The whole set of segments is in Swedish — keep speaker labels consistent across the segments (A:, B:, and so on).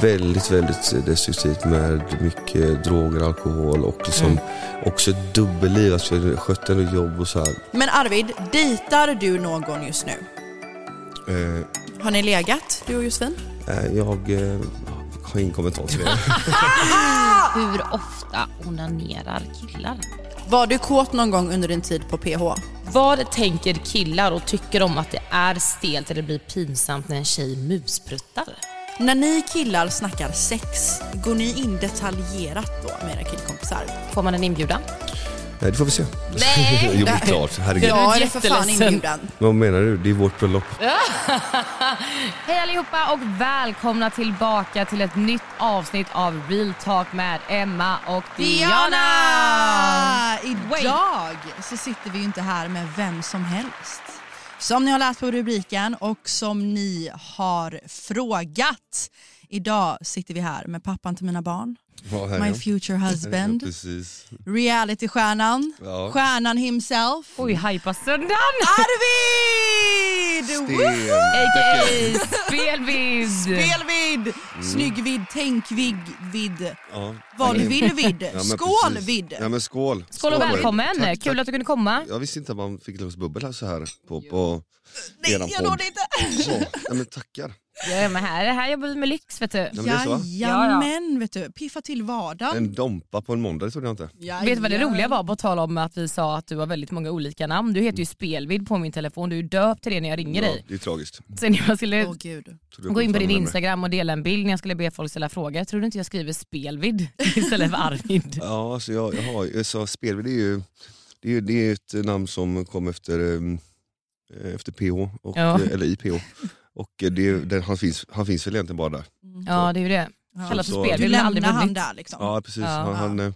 A: väldigt, väldigt eh, destruktivt med mycket droger, alkohol och liksom
B: Mm.
A: också ett dubbelliv. Alltså jag skötte ändå jobb och så här.
C: Men Arvid, dejtar du någon just nu?
A: Eh,
C: Har ni legat, du och Josefin?
A: eh, jag eh, har ingen kommentar till det.
B: Hur ofta onanerar killar?
C: Var du kåt någon gång under din tid på PH?
B: Vad tänker killar och tycker om att det är stelt eller blir pinsamt när en tjej muspruttar?
C: När ni killar snackar sex, går ni in detaljerat då med era killkompisar?
B: Får man en inbjudan?
A: Nej, det får vi se.
B: Nej.
A: jo, det är klart. Herregud.
C: Jag är för fan
B: jätteledsen.
C: inbjudan.
A: Vad menar du? Det är vårt bröllop.
B: Hej allihopa och välkomna tillbaka till ett nytt avsnitt av Real Talk med Emma och Diana!
C: Idag så sitter vi ju inte här med vem som helst. Som ni har läst på rubriken och som ni har frågat. Idag sitter vi här med pappan till mina barn,
A: Ja, här är
C: my
A: jag.
C: future
A: Ja,
C: husband,
A: Precis.
C: realitystjärnan,
A: Ja.
C: stjärnan himself,
B: Oj, hajpas undan!
C: Arvid! Woo!
B: A.k.a. Spelvind!
C: Spelvidd,
A: Mm.
C: snyggvidd, tänkvidd, vidd,
A: Ja.
C: vad du vill vidd,
A: Ja, men
C: skål
A: precis.
C: vidd!
A: Ja, men skål.
B: Skål och välkommen!
A: Tack,
B: Kul
A: tack.
B: att du kunde komma.
A: Jag visste inte att man fick lås bubbel här så här på, på
C: Nej,
A: eran
C: jag
A: podd.
C: nådde inte!
A: Så, ja, men tackar.
B: Ja, men här, här jobbar vi med lyx vet du.
A: Ja, men det är så, va?
C: Jajamän, vet du. Piffa till vardagen.
A: En dompa på en måndag, det trodde jag inte.
B: Vet du vad det roliga var på tal om att vi sa att du har väldigt många olika namn? Du heter ju Spelvid på min telefon, du är döpt till det när jag ringer
A: Ja,
B: dig.
A: det är tragiskt.
B: Sen när jag skulle
C: Åh gud.
A: Trodde jag
B: gå in
A: fortfarande
B: på din
A: med mig.
B: Instagram och dela en bild när jag skulle be folk ställa frågor, tror du inte jag skriver Spelvid istället för Arvid?
A: Ja, alltså jag, jag har, så Spelved är ju det är, ju- det är ett namn som kom efter, ehm, efter PH, och, eh,
B: Ja. Mm.
A: eller i PH. Och eh, det, är- den, han, finns, han finns väl egentligen bara där.
B: Ja det är ju det. Kallas
A: Så-
B: för
C: Du
B: Spelvid men aldrig
C: lämnar han
B: vunnit.
C: där liksom.
A: Ja, precis.
B: Ja.
A: Han, han, eh,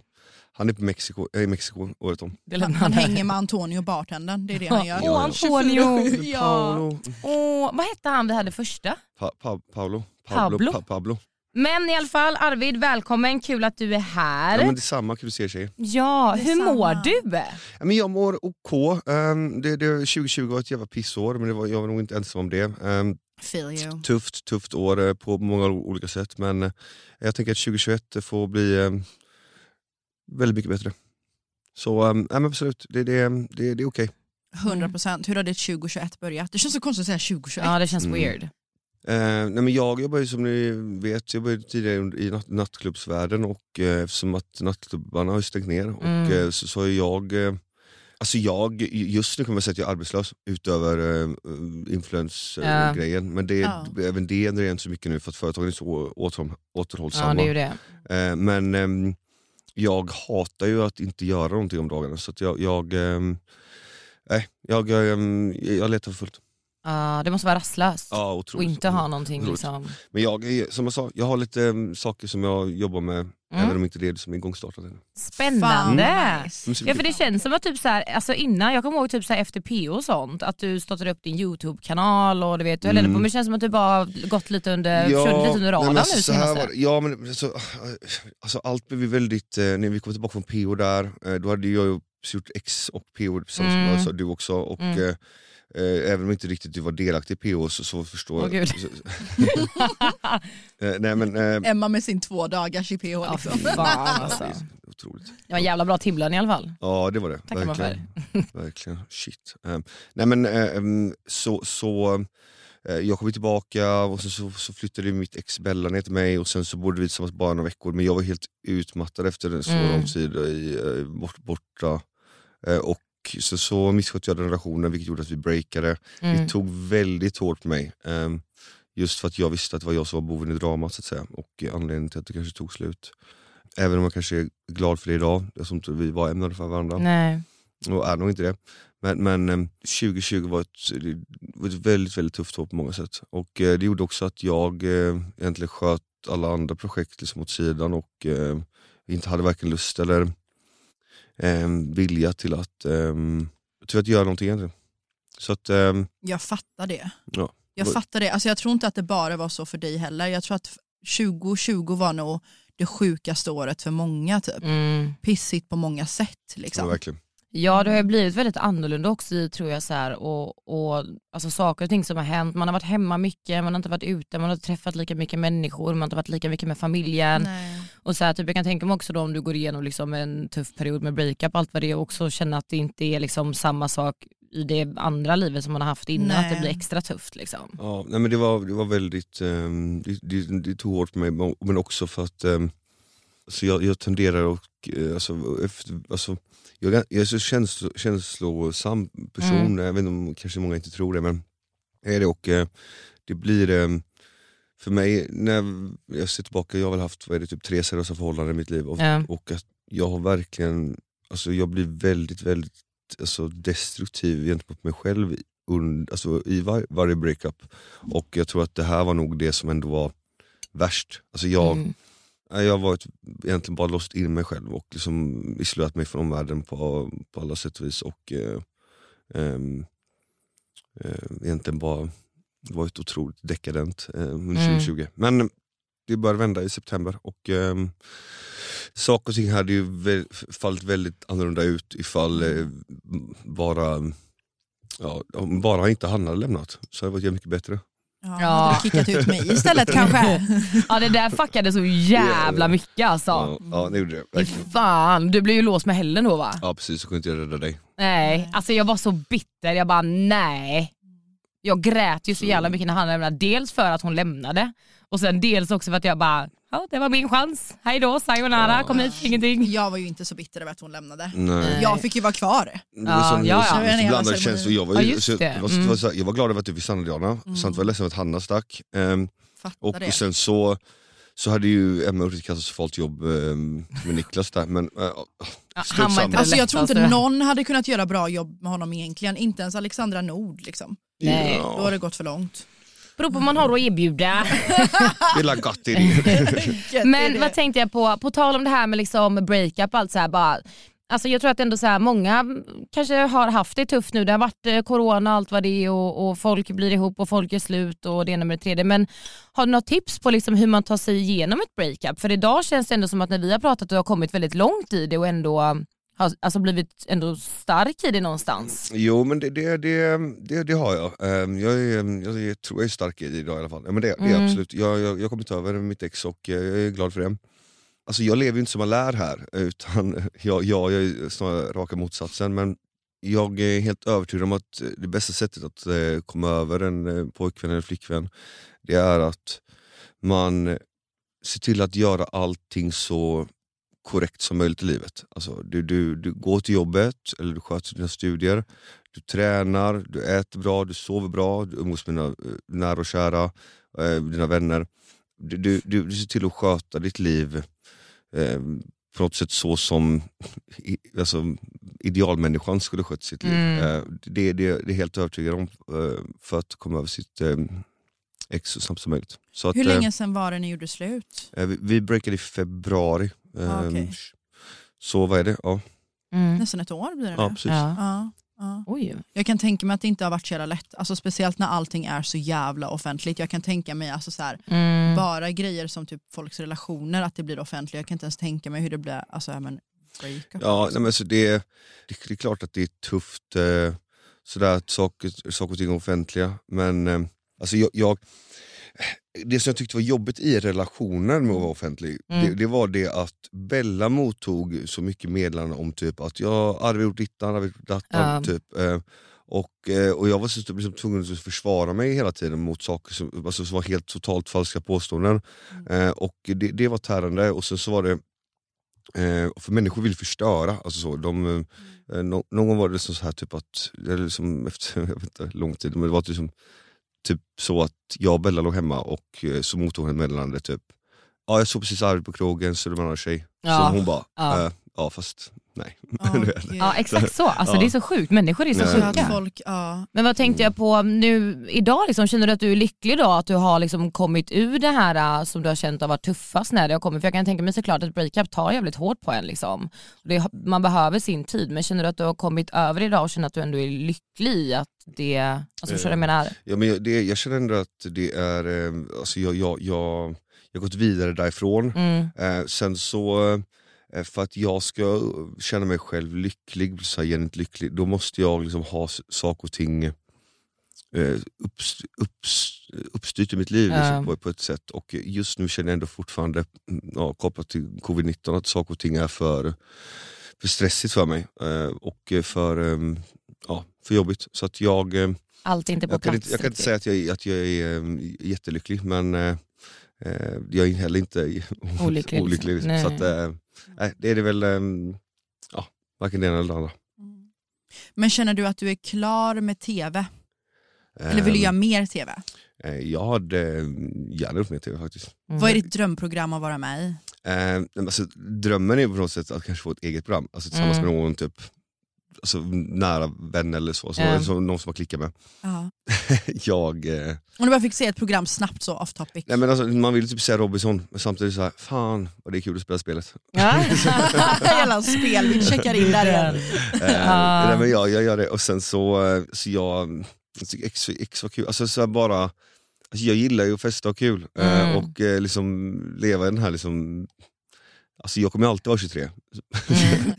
A: han är på Mexiko, äh, i Mexiko året om.
B: Det
C: Han,
B: lämnar
C: han
B: där.
C: hänger med Antonio bartendern, det är det han gör.
B: Åh Antonio!
C: ja.
A: Paolo.
B: Åh, vad hette han vi hade första?
A: Pa, pa, Paolo.
B: Pablo?
A: Pa, Pablo.
B: Men i alla fall Arvid, välkommen, kul att du är här.
A: Ja,
B: Ja,
A: men detsamma, kul att se er tjejer.
B: hur mår du?
A: Ja, men jag mår OK. Ehm, det, det, 2020 var ett jävla pissår, men det var, jag var nog inte ensam om det. Ehm,
C: Feel you.
A: tufft, tufft år eh, på många o- olika sätt men eh, jag tänker att 2021 får bli eh, väldigt mycket bättre. Så eh, nej, men absolut, det, det, det, det är okej.
C: 100%. Hur har ditt 2021 börjat? Det känns så konstigt att säga 2021.
B: Ja det känns
A: Mm.
B: weird.
A: Eh, nej, men jag jobbar ju som ni vet, jag började tidigare under- i natt, nattklubbsvärlden och eh, eftersom att nattklubbarna har ju stängt ner och,
B: Mm.
A: eh, så, så har ju jag eh, Alltså jag, just nu kan man säga att jag är arbetslös utöver eh,
B: Ja.
A: influensgrejen. Men det,
C: Ja.
A: även det ändrar inte så mycket nu för att företagen är så å- återhåll- återhållsamma.
B: Ja det är ju det.
A: Eh, men ehm, jag hatar ju att inte göra någonting om dagarna så att jag, jag, ehm, nej, jag, ehm, jag letar för fullt.
B: Ja, det måste vara rastlöst.
A: Ja,
B: och
A: otroligt.
B: inte ha någonting
A: Otroligt.
B: liksom.
A: Men jag, är- som jag sa, jag har lite ehm, saker som jag jobbar med,
B: Mm.
A: även om inte det är liksom igångstartat ännu.
C: Fan,
B: Spännande!
C: vad nice.
A: Men så-
B: Ja för det känns som att typ så här, alltså innan, jag kommer ihåg typ så här efter PO och sånt, att du startade upp din YouTube-kanal och du vet, du höll mm. på men det känns som att du bara har gått lite under, försvunnit Eh, lite under
A: nej, men
B: radarn nu
A: så här
B: senaste.
A: var det. Ja, men så, alltså, allt blev ju väldigt, eh, när vi kom tillbaka från PO där, eh, då hade jag ju gjort X och PO tillsammans
B: Mm.
A: med alltså, du också. Och,
B: Mm.
A: eh, eh, Även om inte riktigt du var delaktig i PO så, så förstår
B: Åh,
A: jag.
B: gud.
A: Så, eh, nej, men, eh,
C: Emma med sin två dagars i PH
B: Ja
C: liksom.
B: fy fan alltså.
A: det är otroligt.
B: Det var en jävla bra timlön i alla fall.
A: Ja det var det.
B: Tackar man
A: verkligen. verkligen. Shit. Ehm, nej men ehm, så, så eh, jag kom ju tillbaka och sen så, så flyttade ju mitt ex Bella ner till mig och sen så bodde vi tillsammans bara några veckor men jag var helt utmattad efter en så
B: Mm.
A: lång tid i, eh, bort, borta. Eh, och så, så misskötte jag den relationen vilket gjorde att vi breakade.
B: Mm.
A: Det tog väldigt hårt på mig. ehm, just för att jag visste att det var jag som var boven i dramat så att säga. Och eh, anledningen till att det kanske tog slut. Även om jag kanske är glad för det idag. Jag tror inte vi var ämnade för varandra.
B: Nej.
A: Och är nog inte det. Men, men ehm, 2020 var ett, det var ett väldigt, väldigt tufft år på många sätt. Och eh, det gjorde också att jag eh, egentligen sköt alla andra projekt liksom åt sidan och eh, inte hade varken lust eller eh, vilja till att, eh, till att göra någonting egentligen. Så att, eh,
C: Jag fattar det.
A: Ja.
C: Jag fattar det. Alltså jag tror inte att det bara var så för dig heller. Jag tror att f- 2020 var nog det sjukaste året för många. Typ.
B: Mm.
C: Pissigt på många sätt.
A: ja,
C: Liksom.
A: verkligen.
B: Ja det har ju blivit väldigt annorlunda också i, tror jag så här, och, och alltså, saker och ting som har hänt. Man har varit hemma mycket, man har inte varit ute, man har inte träffat lika mycket människor, man har inte varit lika mycket med familjen.
C: Nej.
B: Och så här, typ, jag kan tänka mig också då om du går igenom liksom en tuff period med breakup och allt vad det är och också känna att det inte är liksom samma sak i det andra livet som man har haft innan,
C: Nej.
B: att det blir extra tufft liksom.
A: Ja, nej, men det, var, det var väldigt, eh, det, det, det tog hårt på mig men- men också för att eh, så jag, jag tenderar att, eh, alltså, efter, alltså, jag, är- jag är så känslo, känslosam person,
B: Mm.
A: jag vet inte om kanske många inte tror det men är det och eh, det blir eh, för mig, när jag ser tillbaka, jag har väl haft vad är det, typ tre seriösa förhållanden i mitt liv och,
B: Ja.
A: och att jag har verkligen, alltså, jag blir väldigt väldigt alltså, destruktiv gentemot mig själv i- und, alltså, i var, varje breakup. Och jag tror att det här var nog det som ändå var värst. Alltså, jag,
B: Mm.
A: Nej, Jag har varit, egentligen bara låst in mig själv och liksom isolerat mig från omvärlden på, på alla sätt och vis. Och, eh, ehm, eh, egentligen bara varit otroligt dekadent eh, under
B: Mm.
A: 2020. Men det började vända i september och ehm, saker och ting hade ju vä- fallit väldigt annorlunda ut ifall eh, bara Ja, om bara han inte han hade lämnat så hade det varit jävligt mycket bättre.
C: Ja,
B: Ja.
C: Hade du kickat ut mig istället kanske?
B: Ja det där fuckade så jävla mycket alltså.
A: Ja, Mm. ja det gjorde det.
B: Fy
A: Verkligen.
B: Fan, du blev ju låst med Helen då va?
A: Ja precis, så kunde inte jag rädda dig.
B: Nej, alltså jag var så bitter. Jag bara nej. Jag grät ju så jävla
A: Mm.
B: mycket när han lämnade. Dels för att hon lämnade och sen dels också för att jag bara, ja det var min chans. Hej då, sayonara, kom hit, ingenting.
C: Jag var ju inte så bitter över att hon lämnade.
A: Nej.
C: Jag fick ju vara kvar.
A: Det var
B: Ja,
A: sån,
B: ja,
A: ja, ja.
B: ja.
C: Det var en jävla
A: blandade
C: ceremoni.
A: känslor. Jag var,
B: Ja,
A: ju-
B: just
A: så,
B: det.
A: det var, så-
B: Mm.
A: det var, så här, jag var glad över att du fick stanna Diana, samt var jag ledsen över att Hanna stack. Ehm,
C: Fattar
A: och
C: det.
A: sen så, så hade ju Emma gjort ett katastrofalt jobb ehm, med Niklas där. Men, eh,
B: Ja,
A: strunt
B: han var
A: samma.
B: inte
C: Alltså jag
B: lättaste.
C: tror inte någon hade kunnat göra bra jobb med honom egentligen. Inte ens Alexandra Nord liksom.
B: Nej.
A: Ja,
C: Då har det gått för långt.
B: Beror på vad man har att erbjuda.
A: det är la gott i det.
B: Men vad tänkte jag på, på tal om det här med liksom breakup och allt så här bara. Alltså jag tror att ändå så här, många kanske har haft det tufft nu. Det har varit eh, corona och allt vad det är och, och folk blir ihop och folk är slut och det ena med det tredje. Men har du något tips på liksom hur man tar sig igenom ett breakup? För idag känns det ändå som att när vi har pratat du har kommit väldigt långt i det och ändå har alltså blivit ändå stark i det någonstans.
A: Jo men det, det, det, det, det har jag. Ehm, jag, är, jag är, tror jag är stark i det idag i alla fall. Ja, men det, det är
B: Mm.
A: absolut. Jag, jag, jag har kommit över mitt ex och eh, jag är glad för det. Alltså jag lever ju inte som man lär här, eh, utan jag, jag, jag är snarare raka motsatsen. Men jag är helt övertygad om att eh, det bästa sättet att eh, komma över en eh, pojkvän eller flickvän, det är att man ser till att göra allting så korrekt som möjligt i livet. Alltså, du, du, du går till jobbet, eller du sköter dina studier, du tränar, du äter bra, du sover bra, du umgås med dina eh, nära och kära, eh, dina vänner. Du, du, du, du ser till att sköta ditt liv eh, på något sätt så som i, alltså, idealmänniskan skulle skött sitt liv.
B: Mm.
A: Eh, det, det, det är jag helt övertygad om eh, för att komma över sitt eh, ex så snabbt som möjligt. Så att,
C: Hur
A: eh,
C: länge sedan var det ni gjorde slut?
A: Eh, Vi, vi breakade i februari.
C: Ah, okej.
A: Ehm, Så vad är det? Ja,
B: Mm.
C: Nästan ett år blir det
A: ja
C: nu.
A: precis.
C: Ja, ja.
B: Oj.
C: Jag kan tänka mig att det inte har varit så jävla lätt. Alltså, speciellt när allting är så jävla offentligt. Jag kan tänka mig alltså, så här,
B: Mm.
C: bara grejer som typ folks relationer, att det blir offentligt. Jag kan inte ens tänka mig hur det blir. Alltså, ja, men, breakup.
A: Ja, nej, men så det, det, det är klart att det är tufft eh, sådär, att saker, saker och ting är offentliga. Men eh, alltså, jag, jag, det som jag tyckte var jobbigt i relationen med att vara offentlig,
B: Mm.
A: det, det var det att Bella mottog så mycket meddelanden om typ att jag hade gjort dittan, hade gjort dattan.
B: Ja.
A: Typ, eh, och, eh, och jag var så, liksom, tvungen att försvara mig hela tiden mot saker som, alltså, som var helt totalt falska påståenden.
B: Mm.
A: Eh, och det, det var tärande och sen så var det Eh, för människor vill förstöra. Alltså så, de, eh, nå- någon gång var det liksom så här typ att, eller liksom efter jag vet inte, lång tid, men det var liksom, typ så att jag och Bella låg hemma och eh, så mottog hon ett meddelande typ Ja jag såg precis Arvid på krogen, så det var en annan tjej.
B: Ja.
A: Så hon bara,
B: Ja.
A: ja. Eh, ja fast Nej.
C: Ja,
A: Du vet.
C: gud.
B: Ja exakt så, alltså,
A: Ja.
B: det är så sjukt, människor är så
A: Nej.
C: Så att
B: sjuka.
C: folk, ja.
B: Men vad tänkte jag på nu idag, liksom, känner du att du är lycklig då att du har liksom kommit ur det här äh, som du har känt har varit tuffast när det har kommit? För jag kan tänka mig såklart att ett breakup tar jävligt hårt på en. Liksom. Det, man behöver sin tid, men känner du att du har kommit över det idag och känner att du ändå är lycklig i att det, alltså
A: Eh,
B: förstår du vad jag menar?
A: Ja, men jag, det, jag känner ändå att det är, eh, alltså jag, jag, jag, jag har gått vidare därifrån.
B: Mm.
A: Eh, sen så, eh, för att jag ska känna mig själv lycklig, så här, genuint lycklig, då måste jag liksom ha s- saker och ting eh, upps, upps, uppstyrt i mitt liv
B: Ja.
A: liksom, på, på ett sätt. Och just nu känner jag ändå fortfarande, mm, ja, kopplat till covid-19, att saker och ting är för, för stressigt för mig. Eh, och eh, för, eh, ja, för jobbigt. Så att jag... Eh,
B: Allt är inte på
A: jag kan,
B: plats.
A: inte, jag kan inte
B: riktigt.
A: säga att jag, att jag är eh, jättelycklig, men eh, eh, jag är heller inte
B: Olycklig,
A: olycklig.
B: liksom.
A: liksom. Så
B: Nej.
A: att, eh, nej, det är det väl, eh, ja, varken det ena eller det andra.
C: Men känner du att du är klar med tv? Eller
A: Eh,
C: vill du göra mer tv?
A: eh, Jag hade eh, gärna gjort mer tv faktiskt.
B: Mm.
C: Vad är ditt drömprogram att vara med i?
A: Eh, men alltså, drömmen är på något sätt att kanske få ett eget program, alltså, tillsammans
B: Mm.
A: med någon typ, alltså, nära vän eller så, så
B: Ja.
A: eller så, någon som man klickar med.
C: Ja.
A: jag, eh,
C: Om du bara fick se ett program snabbt så off topic.
A: nej, men alltså, man vill typ säga Robinson, men samtidigt så här, fan vad det är kul att spela spelet.
B: Ja.
C: Hela spel, vi checkar in där igen.
B: Ah.
A: Eh, nej, men jag, jag gör det och sen så, eh, så jag, jag tycker X, X var kul. Alltså, så här bara, alltså, jag gillar ju att festa och kul eh,
B: Mm.
A: och eh, liksom leva i den här liksom, alltså jag kommer ju alltid vara 23.
B: Mm.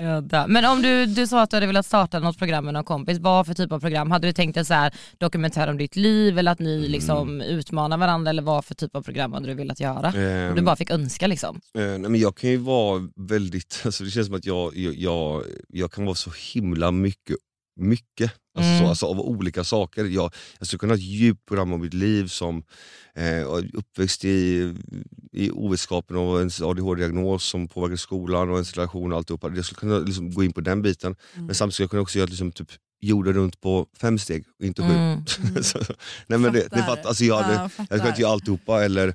B: Jodda. Men om du, du sa att du hade velat starta något program med någon kompis, vad för typ av program? Hade du tänkt dig så här dokumentär om ditt liv eller att ni
A: Mm.
B: liksom utmanar varandra eller vad för typ av program hade du velat göra? Om
A: Ehm,
B: du bara fick önska liksom.
A: eh, nej, men jag kan ju vara väldigt, alltså, det känns som att jag, jag, jag, jag kan vara så himla mycket, mycket. Alltså,
B: Mm.
A: så, alltså av olika saker. Jag, jag skulle kunna ha ett djupt program om mitt liv som Eh, och uppväxt i, i ovetskapen om ens ADHD-diagnos som påverkar skolan och ens relation och alltihopa. Jag skulle kunna liksom gå in på den biten. Men samtidigt skulle jag kunna också göra liksom typ jorden runt på fem steg och inte sju.
B: Mm.
A: Så- Nej, men det, det
C: Fattar.
A: fatt, alltså jag, hade,
C: Ja,
A: jag skulle
C: fattar.
A: kunna göra alltihopa eller eh,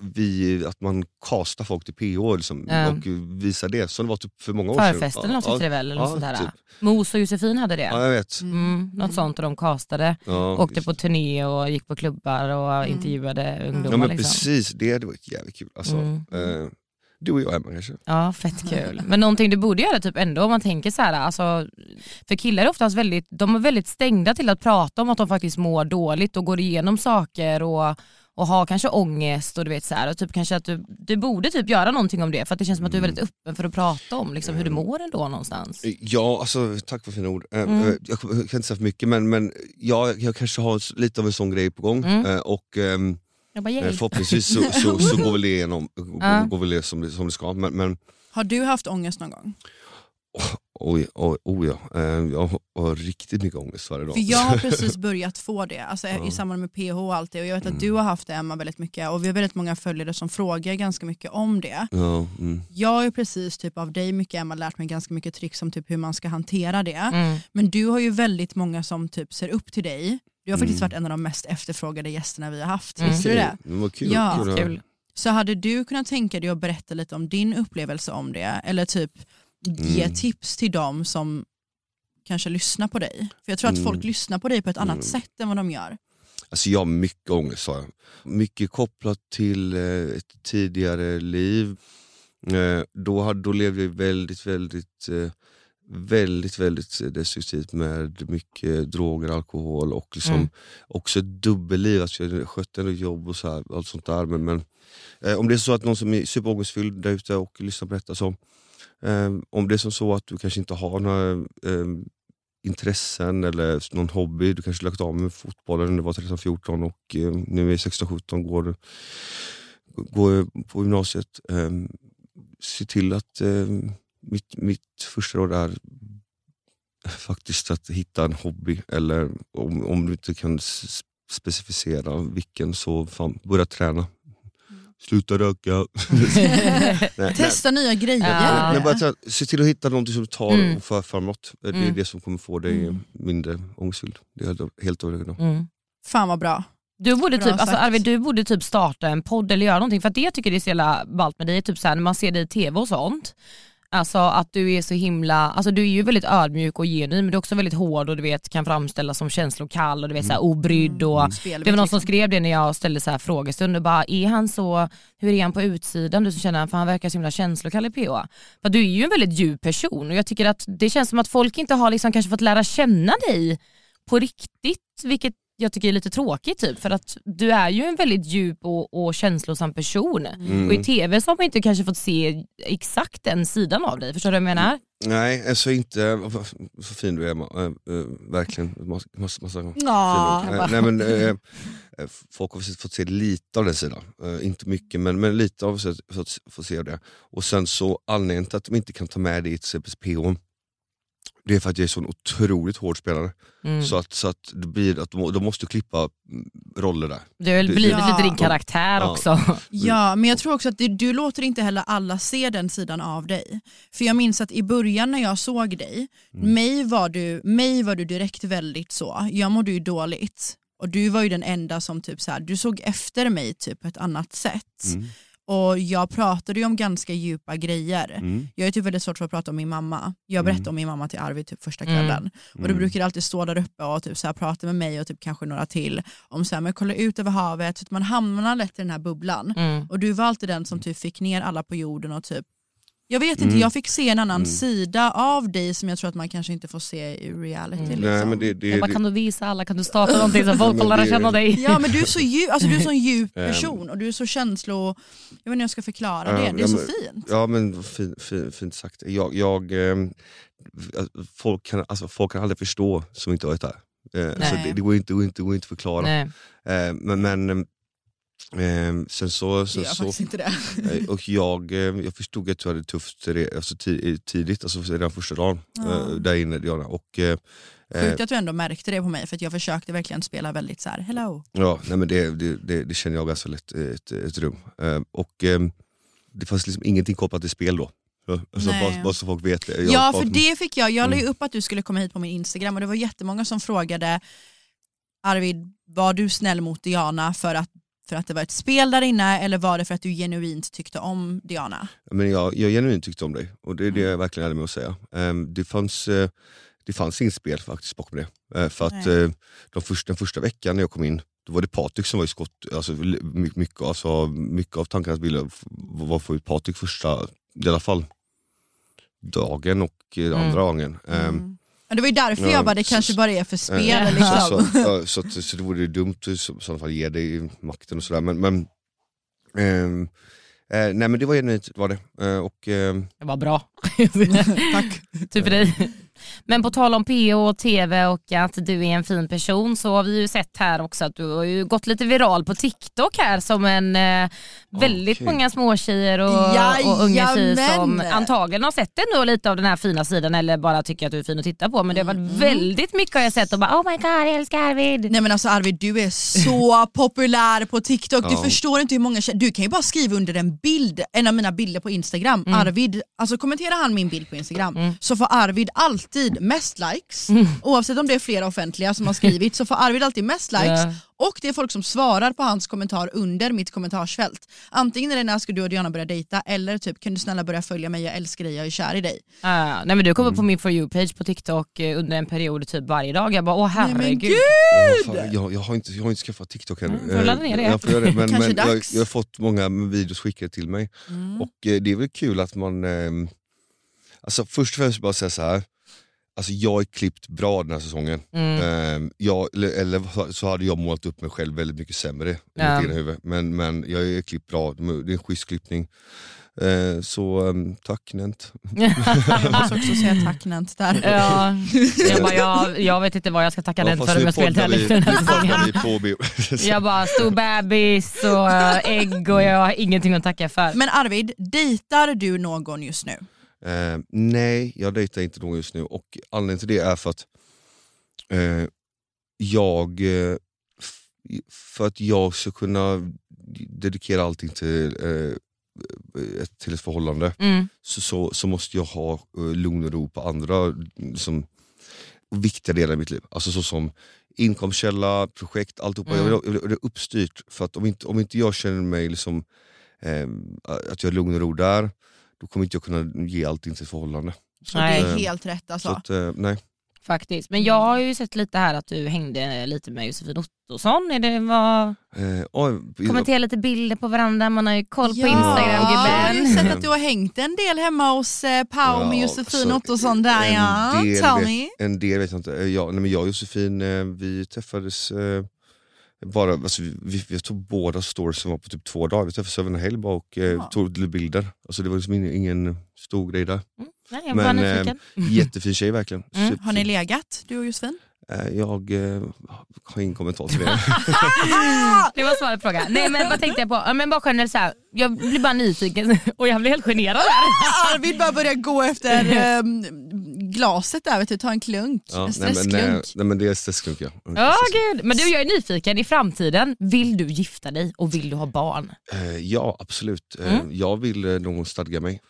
A: vi, att man kastar folk till PH liksom,
B: Ja.
A: och visar det. Så det var typ för många år sedan.
B: Förfesten eller något sånt är det väl? Eller något sånt där.
A: typ.
B: Mos och Josefin hade det.
A: ja, jag vet.
B: Mm, något sånt och de kastade,
A: Ja,
B: åkte på turné och gick på klubbar och intervjuade ungdomar.
A: ja, men
B: liksom. Mm.
A: precis, det, det var jävligt kul. Alltså, eh, du och jag Emma kanske?
B: Ja, fett kul. Men någonting du borde göra typ ändå om man tänker så här, alltså, för killar är oftast väldigt, de är väldigt stängda till att prata om att de faktiskt mår dåligt och går igenom saker och, och har kanske ångest och du vet så här, och typ kanske att du, du borde typ göra någonting om det för att det känns som att du är väldigt öppen för att prata om liksom, hur du mår ändå någonstans.
A: Ja, alltså, tack för fina ord. Eh,
B: Mm.
A: eh, Jag kan inte säga för mycket men, men jag, jag kanske har s- lite av en sån grej på gång Eh, och ehm,
B: Jag bara,
A: eh,
B: Mm. yay.
A: förhoppningsvis så, så, så går väl det igenom,
B: Ja.
A: går, går väl det som, det- som det ska. Men, men
C: Har du haft ångest någon gång?
A: oj, oj, oj ja. Eh, jag har- har riktigt mycket ångest varje dag.
C: För jag har precis börjat få det, alltså, i samband med PH och allt det. Och jag vet att du har haft det Emma väldigt mycket och vi har väldigt många följare som frågar ganska mycket om det.
A: Ja, mm.
C: Jag har ju precis typ av dig mycket Emma lärt mig ganska mycket tricks om typ hur man ska hantera det.
B: Mm.
C: Men du har ju väldigt många som typ ser upp till dig. Du har faktiskt varit en av de mest efterfrågade gästerna vi har haft, visste du det?
A: Men vad kul.
C: Ja.
A: kul,
B: Kul.
C: Så hade du kunnat tänka dig att berätta lite om din upplevelse om det eller typ ge tips till dem som kanske lyssnar på dig? För jag tror att folk lyssnar på dig på ett annat sätt än vad de gör.
A: Alltså jag har mycket ångest har jag. Mycket kopplat till eh, ett tidigare liv. Eh, då, hade, då levde jag väldigt, väldigt, eh, väldigt, väldigt eh, destruktivt med mycket droger, alkohol och liksom
B: Mm.
A: också ett dubbelliv. Alltså jag skötte ändå jobb och så här, allt sånt där. Men, men, eh, om det är så att någon som är superångestfylld där ute och lyssnar på detta, så, eh, om det är som så att du kanske inte har några eh, intressen eller någon hobby. Du kanske lagt av med fotbollen när du var 13-14 och eh, nu är 16-17 går, du- går på gymnasiet. Eh, se till att eh, mitt, mitt första råd är faktiskt att hitta en hobby eller om, om du inte kan s- specificera vilken så fan, börja träna. Sluta röka. nej, nej.
C: Testa nya grejer.
B: Ja.
A: Nej, bara, så här, se till att hitta någonting som tar
B: Mm.
A: och för framåt. Det är
B: Mm.
A: det som kommer få dig mindre ångestfylld. Det är jag helt övertygad om.
B: Mm.
C: Fan vad bra.
B: Du borde,
C: Bra
B: typ, alltså
C: sagt.
B: Arvid, du borde typ starta en podd eller göra någonting för att det jag tycker det är så jävla ballt med dig, är typ så här, när man ser dig i tv och sånt. Alltså att du är så himla, alltså du är ju väldigt ödmjuk och genuin men du är också väldigt hård och du vet kan framställas som känslokall och du vet så här
C: Mm.
B: obrydd och
C: Spelbit,
B: det var någon som
C: liksom.
B: skrev det när jag ställde så här frågestund och bara är han så, hur är han på utsidan du som känner han för han verkar så himla känslokall i PH. För du är ju en väldigt djup person och jag tycker att det känns som att folk inte har liksom kanske fått lära känna dig på riktigt vilket jag tycker är lite tråkigt typ för att du är ju en väldigt djup och, och känslosam person
A: Mm.
B: och i tv så har man inte kanske fått se exakt den sidan av dig, förstår du vad jag menar?
A: Nej, alltså inte... vad- Så fin du är, Ma- eh, eh, verkligen. Massa, massa, massa fina
C: Ja.
A: ord. Eh, Nej, men, eh, eh, folk har fått- fått se lite av den sidan. Eh, inte mycket, men, men lite har fått, fått, fått se av det. Och sen så anledningen till att de inte kan ta med det i till exempel PH, det är för att jag är en sån otroligt hård spelare.
B: Mm.
A: Så, att, så att det blir att de, de måste klippa mm, roller där.
B: Det har väl blivit
C: Ja.
B: lite din karaktär
A: Ja.
B: också.
A: Mm.
C: Ja, men jag tror också att du, du låter inte heller alla se den sidan av dig. För jag minns att i början när jag såg dig, mig, var du, mig var du direkt väldigt så, jag mådde ju dåligt. Och du var ju den enda som typ så här, du såg efter mig typ på ett annat sätt. Och jag pratade ju om ganska djupa grejer.
A: Mm.
C: Jag är typ väldigt svårt för att prata om min mamma. Jag berättade om min mamma till Arvid typ första kvällen. Och
A: Mm.
C: du brukar alltid stå där uppe och typ så här prata med mig och typ kanske några till om så här, men kolla ut över havet. Så att man hamnar lätt i den här bubblan.
B: Mm.
C: Och du var alltid den som typ fick ner alla på jorden och typ jag vet
A: Mm.
C: inte, jag fick se en annan sida av dig som jag tror att man kanske inte får se i reality. Liksom.
A: Nej, men det, det,
B: Jag bara,
A: det,
B: kan du visa alla, kan du starta någonting så folk får
A: Men
B: lära
A: det-
B: känna dig?
C: Ja men du är så djup, alltså du är så en djup
A: Ehm.
C: person och du är så känslo... Jag vet inte hur jag ska förklara
A: Ja,
C: det, det är
A: ja,
C: så
A: men-
C: fint.
A: Ja men fin, fin, fint sagt. Jag, jag, ehm, folk, kan, alltså, folk kan aldrig förstå som inte har varit där. Eh, alltså,
C: Nej.
A: det, det går inte att inte, går inte att förklara.
B: Nej.
A: Eh, men men ehm, ehm, sen så...
C: Det
A: Sen
C: gör
A: så
C: faktiskt inte det.
A: eh, och jag, ehm, jag förstod att du hade det tufft re- alltså, ti- tidigt, alltså redan första dagen
C: Ja.
A: eh, där inne Diana. Och, eh, eh,
C: Sjukt att du ändå märkte det på mig för att jag försökte verkligen spela väldigt så här, hello.
A: Ja, nej men det, det, det, det känner jag ganska lätt i ett, ett rum. Eh, och eh, Det fanns liksom ingenting kopplat till spel då. Ja, Alltså
C: Nej.
A: bara, bara så folk vet. det. Jag Mm.
C: Ja
A: bara-
C: för det fick jag, jag la ju upp att du skulle komma hit på min Instagram och det var jättemånga som frågade Arvid, var du snäll mot Diana för att, för att det var ett spel där inne eller var det för att du genuint tyckte om Diana?
A: Men jag, jag genuint tyckte om dig och det är det
C: Mm.
A: jag verkligen är med att säga. Ehm, det, fanns, eh, det fanns inget spel faktiskt bakom det. Eh, för att
C: Nej.
A: eh, de första, den första veckan när jag kom in, då var det Patrik som var i skott. Alltså, l- my- mycket, alltså, mycket av tankarna ville f- var att få ut Patrik första, i alla fall dagen och eh,
C: Mm.
A: andra dagen. Ehm,
C: Ja, Det var ju därför
A: Ja,
C: jag bara, det
A: så-
C: kanske bara är för spel.
A: Eh,
C: Liksom.
A: Så, så, ja, så, att, så det vore ju dumt att i så- sådana fall ge dig makten och sådär. Men, men, ehm, eh, nej men det var genuint, var det. Eh, och, ehm,
B: Jag var bra.
C: Tack.
B: typ för
A: Eh.
B: dig. Men på tal om PO och TV och att du är en fin person så har vi ju sett här också att du har ju gått lite viral på TikTok här som en eh, väldigt
A: Okej.
B: många småtjejer och, och unga tjejer som
C: Jajamän.
B: antagligen har sett ändå lite av den här fina sidan eller bara tycker att du är fin att titta på men det har varit
A: Mm.
B: väldigt mycket har jag sett och bara oh my god jag älskar Arvid.
C: Nej men alltså Arvid du är så populär på TikTok, du
A: Ja.
C: förstår inte hur många tjejer- du kan ju bara skriva under en bild, en av mina bilder på Instagram, Arvid, alltså kommenterar han min bild på Instagram så får Arvid alltid mest likes, oavsett om det är flera offentliga som har skrivit så får Arvid alltid mest likes och det är folk som svarar på hans kommentar under mitt kommentarsfält. Antingen är det när ska du och Diana börja dejta eller typ kan du snälla börja följa mig, jag älskar dig, jag är kär i dig.
B: Ah, nej men du kom upp på
A: Mm.
B: min For You-page på TikTok eh, under en period typ varje dag. Jag bara åh
C: Nej, men
B: herregud.
C: gud!
A: ja, fan, jag, jag, har inte, jag har inte skaffat TikTok ännu.
B: Mm, får ladda ner det.
A: Eh, Jag, får göra det men,
C: Kanske
A: men jag,
C: dags. Mm.
A: jag har fått många videos skickade till mig. Och eh, det är väl kul att man... ehm, alltså först och främst bara säga så här. Alltså jag är klippt bra den här säsongen.
B: Mm.
A: Ehm, jag, eller, eller så hade jag målat upp mig själv väldigt mycket sämre i
B: Ja.
A: mitt egna huvud. Men, men jag är klippt bra, det är en schysst klippning. Eh, så ehm, tack Nent.
C: Jag måste också säga tack Nent där.
B: Ja, jag, bara, jag, jag vet inte vad jag ska tacka
A: Ja,
B: den
A: fast
B: för om
A: nu
B: jag spelar
A: poddar vi-
B: dialekt för den här
A: nu poddar
B: säsongen.
A: vi på bio.
B: Jag bara, stor bebis och eh, ägg och jag har ingenting att tacka för.
C: Men Arvid, dejtar du någon just nu?
A: Eh, nej, jag dejtar inte någon just nu och anledningen till det är för att eh, jag eh, f- för att jag ska kunna dedikera allting till, eh, ett- till ett förhållande
B: Mm.
A: så, så, så måste jag ha eh, lugn och ro på andra liksom, viktiga delar i mitt liv. Alltså så som inkomstkälla, projekt, alltihopa.
B: Mm.
A: Jag, vill, ha- jag vill ha det ehm, uppstyrt. För att om inte, om inte jag känner mig liksom, eh, att jag har lugn och ro där, då kommer inte jag kunna ge allting till ett förhållande. Så
C: Det
B: Nej.
A: att, eh,
C: är helt rätt alltså.
A: så att, eh, nej.
B: Faktiskt. Men jag har ju sett lite här att du hängde lite med Josefin Ottosson. Är det var...
A: Eh, oj,
B: Kommentera lite bilder på varandra, man har ju koll på Instagram
C: jag har ju
B: gubben.
C: sett att du har hängt en del hemma hos eh, Pau med
A: Ja,
C: Josefin
A: så
C: Ottosson där
A: en
C: ja.
A: del
C: Tell
A: vet-
C: me.
A: En del vet jag inte. Eh, Ja, nej, men jag och Josefin eh, vi träffades eh, bara, alltså, vi, vi, vi tog båda stories som var på typ två dagar. Vi träffades över en helg bara och eh,
C: Ja.
A: tog lite bilder. Alltså, det var liksom ingen, ingen stor grej där.
B: Nej, jag var bara
A: Men, eh,
B: nyfiken.
A: Jättefin tjej verkligen.
B: Mm,
C: Har ni legat du och Josefin?
A: Eh, Jag eh, har ingen kommentar till det.
B: Ah! Det var svaret på frågan. Nej men vad tänkte jag på? Ja, Men bara generellt så här. jag blir bara nyfiken och jag blir helt generad här.
C: Arvid bara börjar gå efter ehm, glaset där, vet du, ta en klunk.
A: Ja,
C: en
A: nej, men,
C: stressklunk.
A: nej, nej men det är stressklunk ja.
B: Ja gud. Men du jag är nyfiken, i framtiden, vill du gifta dig och vill du ha barn?
A: Eh, Ja absolut, Eh,
B: Mm.
A: jag vill eh, nog stadga mig.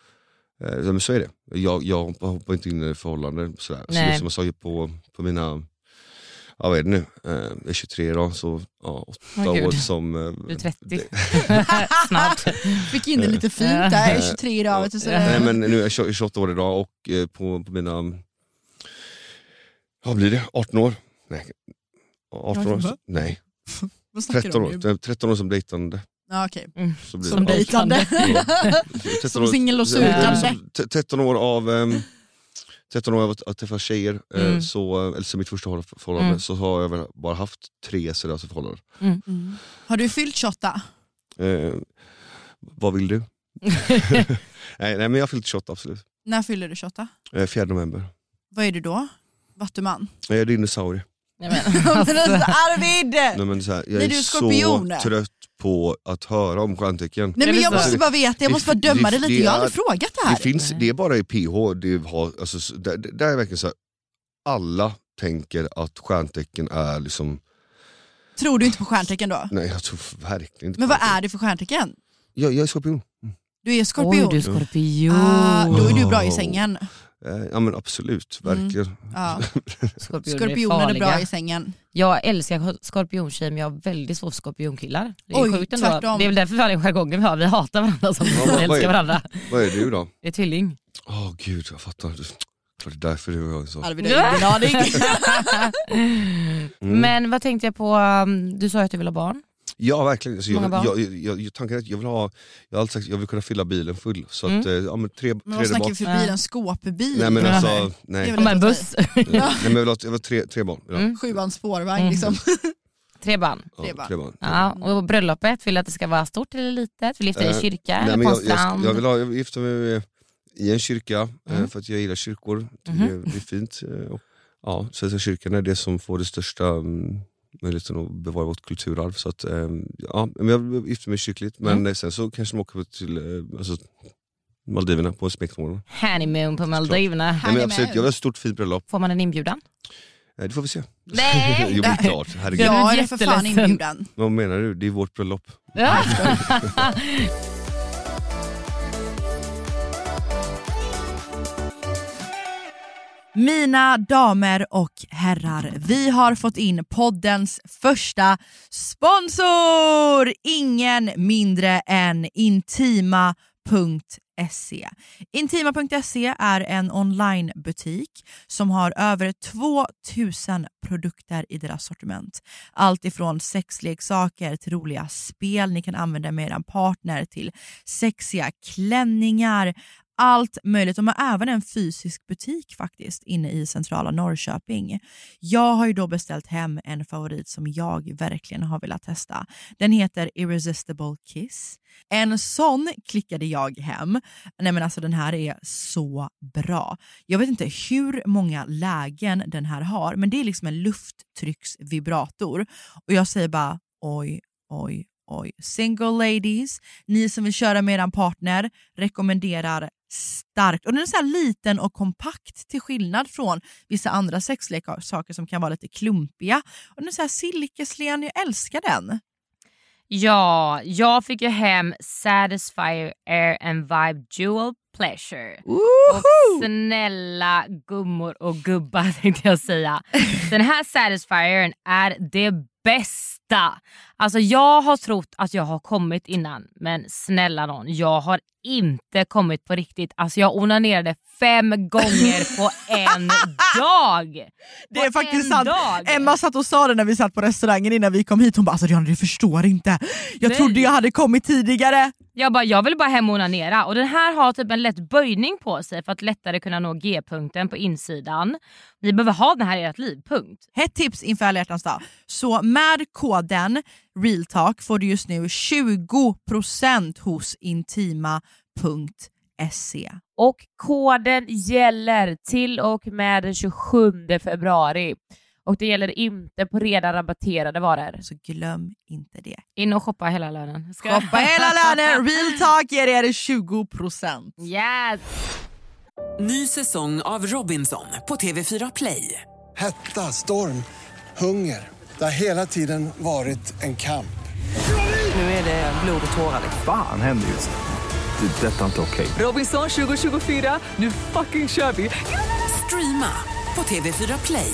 A: Eh, Men så är det, jag, jag hoppar hoppar inte in i ett förhållande. Sådär. Så det
B: Nej.
A: är som jag sa ju på, på mina, ja, vad är det nu, Eh, jag är 23 idag så ja, åtta
B: Åh, gud.
A: år som... eh,
B: Du är 30.
A: det-
B: Snart.
C: Fick in det lite fint där, jag är 23 idag vet du. Så
A: Nej men nu är jag 20 28 år idag och eh, på, på mina, vad blir det, 18 år? Nej, 18 år?
C: Va?
A: Nej,
C: vad snackar du
A: 13
C: om nu?
A: år, 13 år som dejtande.
C: Ja, okej.
A: Så blir
B: Som
A: det.
C: Dejtande. Som
A: 13 år-
C: singel och
A: Eh,
C: sugande.
A: som t- 13 år av ehm, 13 år av att, att träffa tjejer, eh,
B: Mm.
A: så, eh, eller sen mitt första förhåll- förhållande,
B: Mm.
A: så har jag väl bara haft tre seriösa förhållanden.
C: Har du fyllt 28?
A: Eh, vad vill du? nej, nej men jag har fyllt 28 absolut.
C: När fyller du 28?
A: Eh, 4 november.
C: Vad är du då? Vattuman?
A: Jag är dinosaurie.
B: Nej, men,
C: Men alltså,
B: alltså.
C: Arvid!
A: Nej, men så här, jag
C: Nej,
A: är,
C: du är skorpion.
A: så trött på att höra om stjärntecken.
C: Nej men
B: det
C: jag
B: så?
C: måste bara veta, jag
A: Det-
C: måste bara döma
A: det-
C: dig lite,
A: det
C: jag har
A: är-
C: aldrig frågat det
A: Det,
C: här.
A: finns, det är bara i PH, det har, alltså, så- där, där är verkligen så här, alla tänker att stjärntecken är liksom,
C: Tror du inte på stjärntecken då?
A: nej jag tror verkligen inte
C: Men
A: på
C: vad
A: det.
C: är det för stjärntecken?
A: Jag, jag är skorpion.
C: Du är
B: Oj
C: skorpion.
B: du är skorpion.
C: Ah, då är du bra i
A: Oh.
C: sängen.
A: Eh, ja men absolut,
C: Mm.
A: verkligen.
C: Ja.
B: Skorpioner
C: Skorpioner är bra
B: farliga.
C: i sängen.
B: Jag älskar skorpiontjejer men jag har väldigt svårt för skorpionkillar. Det är
C: Oj,
B: sjukt ändå.
C: tvärtom.
B: Det är väl därför vi har den jargongen vi har, vi hatar varandra som
A: vad- vad
B: vi
A: är-
B: älskar varandra.
A: Vad är du då?
B: Det är tvilling.
A: Åh gud, jag fattar. Klart det är därför du och jag är så.
C: Arvid har ingen aning.
B: Men vad tänkte jag på, um, du sa ju att du vill ha barn.
A: Ja verkligen. Alltså, jag,
B: Många barn?
A: jag, jag, jag, tanken är att jag vill ha, jag har alltid sagt att jag vill kunna fylla bilen full. Så att, eh, ja, men tre,
C: Mm. Men
A: tre
C: vad snackar
A: barn.
C: vi för
B: Ja.
C: bil? En skåpbil?
A: Nej men alltså,
B: Nej.
A: nej.
C: Det
A: nej
C: är väl
B: Om en
C: inte att
B: buss.
A: men jag vill ha jag vill ha tre, tre barn. Ja,
C: Sjuan spårvagn liksom.
B: Tre barn.
A: ja,
C: Mm. tre barn.
A: tre barn.
B: Ja, och bröllopet, vill du att det ska vara stort eller litet? Vill du gifta dig i
A: Eh,
B: kyrka
A: Nej,
B: eller
A: men
B: på en
A: jag,
B: strand? Mm.
A: jag, jag vill ha, jag vill gifta mig eh, i en kyrka eh, för att jag gillar kyrkor. Det,
B: Mhm.
A: är- det är fint. eh, och- Ja, Svenska kyrkan är det som får det största mm, möjligheten att bevara vårt kulturarv. Så att, eh, ja, men jag gifter mig kyrkligt men
B: Mm.
A: eh, sen så kanske de åker till eh, alltså, Maldiverna på en smekmånad.
B: Honeymoon på Maldiverna.
A: Nej, men
C: Härlig
A: absolut,
C: med.
A: jag vill ha ett stort fint bröllop.
B: Får man en inbjudan?
A: Eh, Det får vi se.
B: Nej!
A: jo men klart, herregud.
B: Ja,
C: Jag är för fan
B: jätteledsen.
C: inbjuden.
A: Vad menar du? Det är vårt bröllop.
B: Ja.
C: Mina damer och herrar, vi har fått in poddens första sponsor! Ingen mindre än Intima.se. Intima.se E är en onlinebutik som har över 2000 produkter i deras sortiment. Allt ifrån sexleksaker till roliga spel ni kan använda med er partner till sexiga klänningar, allt möjligt. De har även en fysisk butik faktiskt inne i centrala Norrköping. Jag har ju då beställt hem en favorit som jag verkligen har velat testa. Den heter Irresistible Kiss. En sån klickade jag hem. Nej men alltså den här är så bra. Jag vet inte hur många lägen den här har men det är liksom en lufttrycksvibrator och jag säger bara oj, oj, oj. Single ladies, ni som vill köra med eran partner rekommenderar starkt. Och den är så här liten och kompakt till skillnad från vissa andra sexleksaker som kan vara lite klumpiga. Och den är så här silkeslen, jag älskar den.
B: Ja, jag fick ju hem Satisfyer Air and Vibe Dual pleasure. Och
C: Woho!
B: snälla gummor och gubbar tänkte jag säga. Den här Satisfiern är det bästa. Alltså jag har trott att jag har kommit innan men snälla någon, jag har inte kommit på riktigt. Alltså jag onanerade fem gånger på en dag.
C: Det är
B: På
C: faktiskt
B: en
C: sant.
B: dag.
C: Emma satt och sa det när vi satt på restaurangen innan vi kom hit. Hon bara alltså Diana du förstår inte. Jag
B: Nej.
C: trodde jag hade kommit tidigare.
B: Jag bara, jag vill bara hem och onanera. Och den här har typ en lätt böjning på sig för att lättare kunna nå G-punkten på insidan. Ni behöver ha den här i ert liv, punkt.
C: Hett tips inför alla hjärtans dag. Så med koden REALTALK får du just nu 20% hos intima.se.
D: Och koden gäller till och med den 27 februari. Och det gäller inte på redan rabatterade varor.
C: Så glöm inte det.
B: In och shoppa hela lönen. Ska jag-
C: Shoppa hela lönen, RealTalk ger er 20%.
B: Yes!
E: Ny säsong av Robinson på TV4 Play.
F: Hetta, storm, hunger. Det har hela tiden varit en kamp.
E: Nu är det blod och tårar.
G: Fan händer just nu. Det. är Detta är inte okej.
E: Robinson 2024, nu fucking kör vi! Streama på TV4 Play.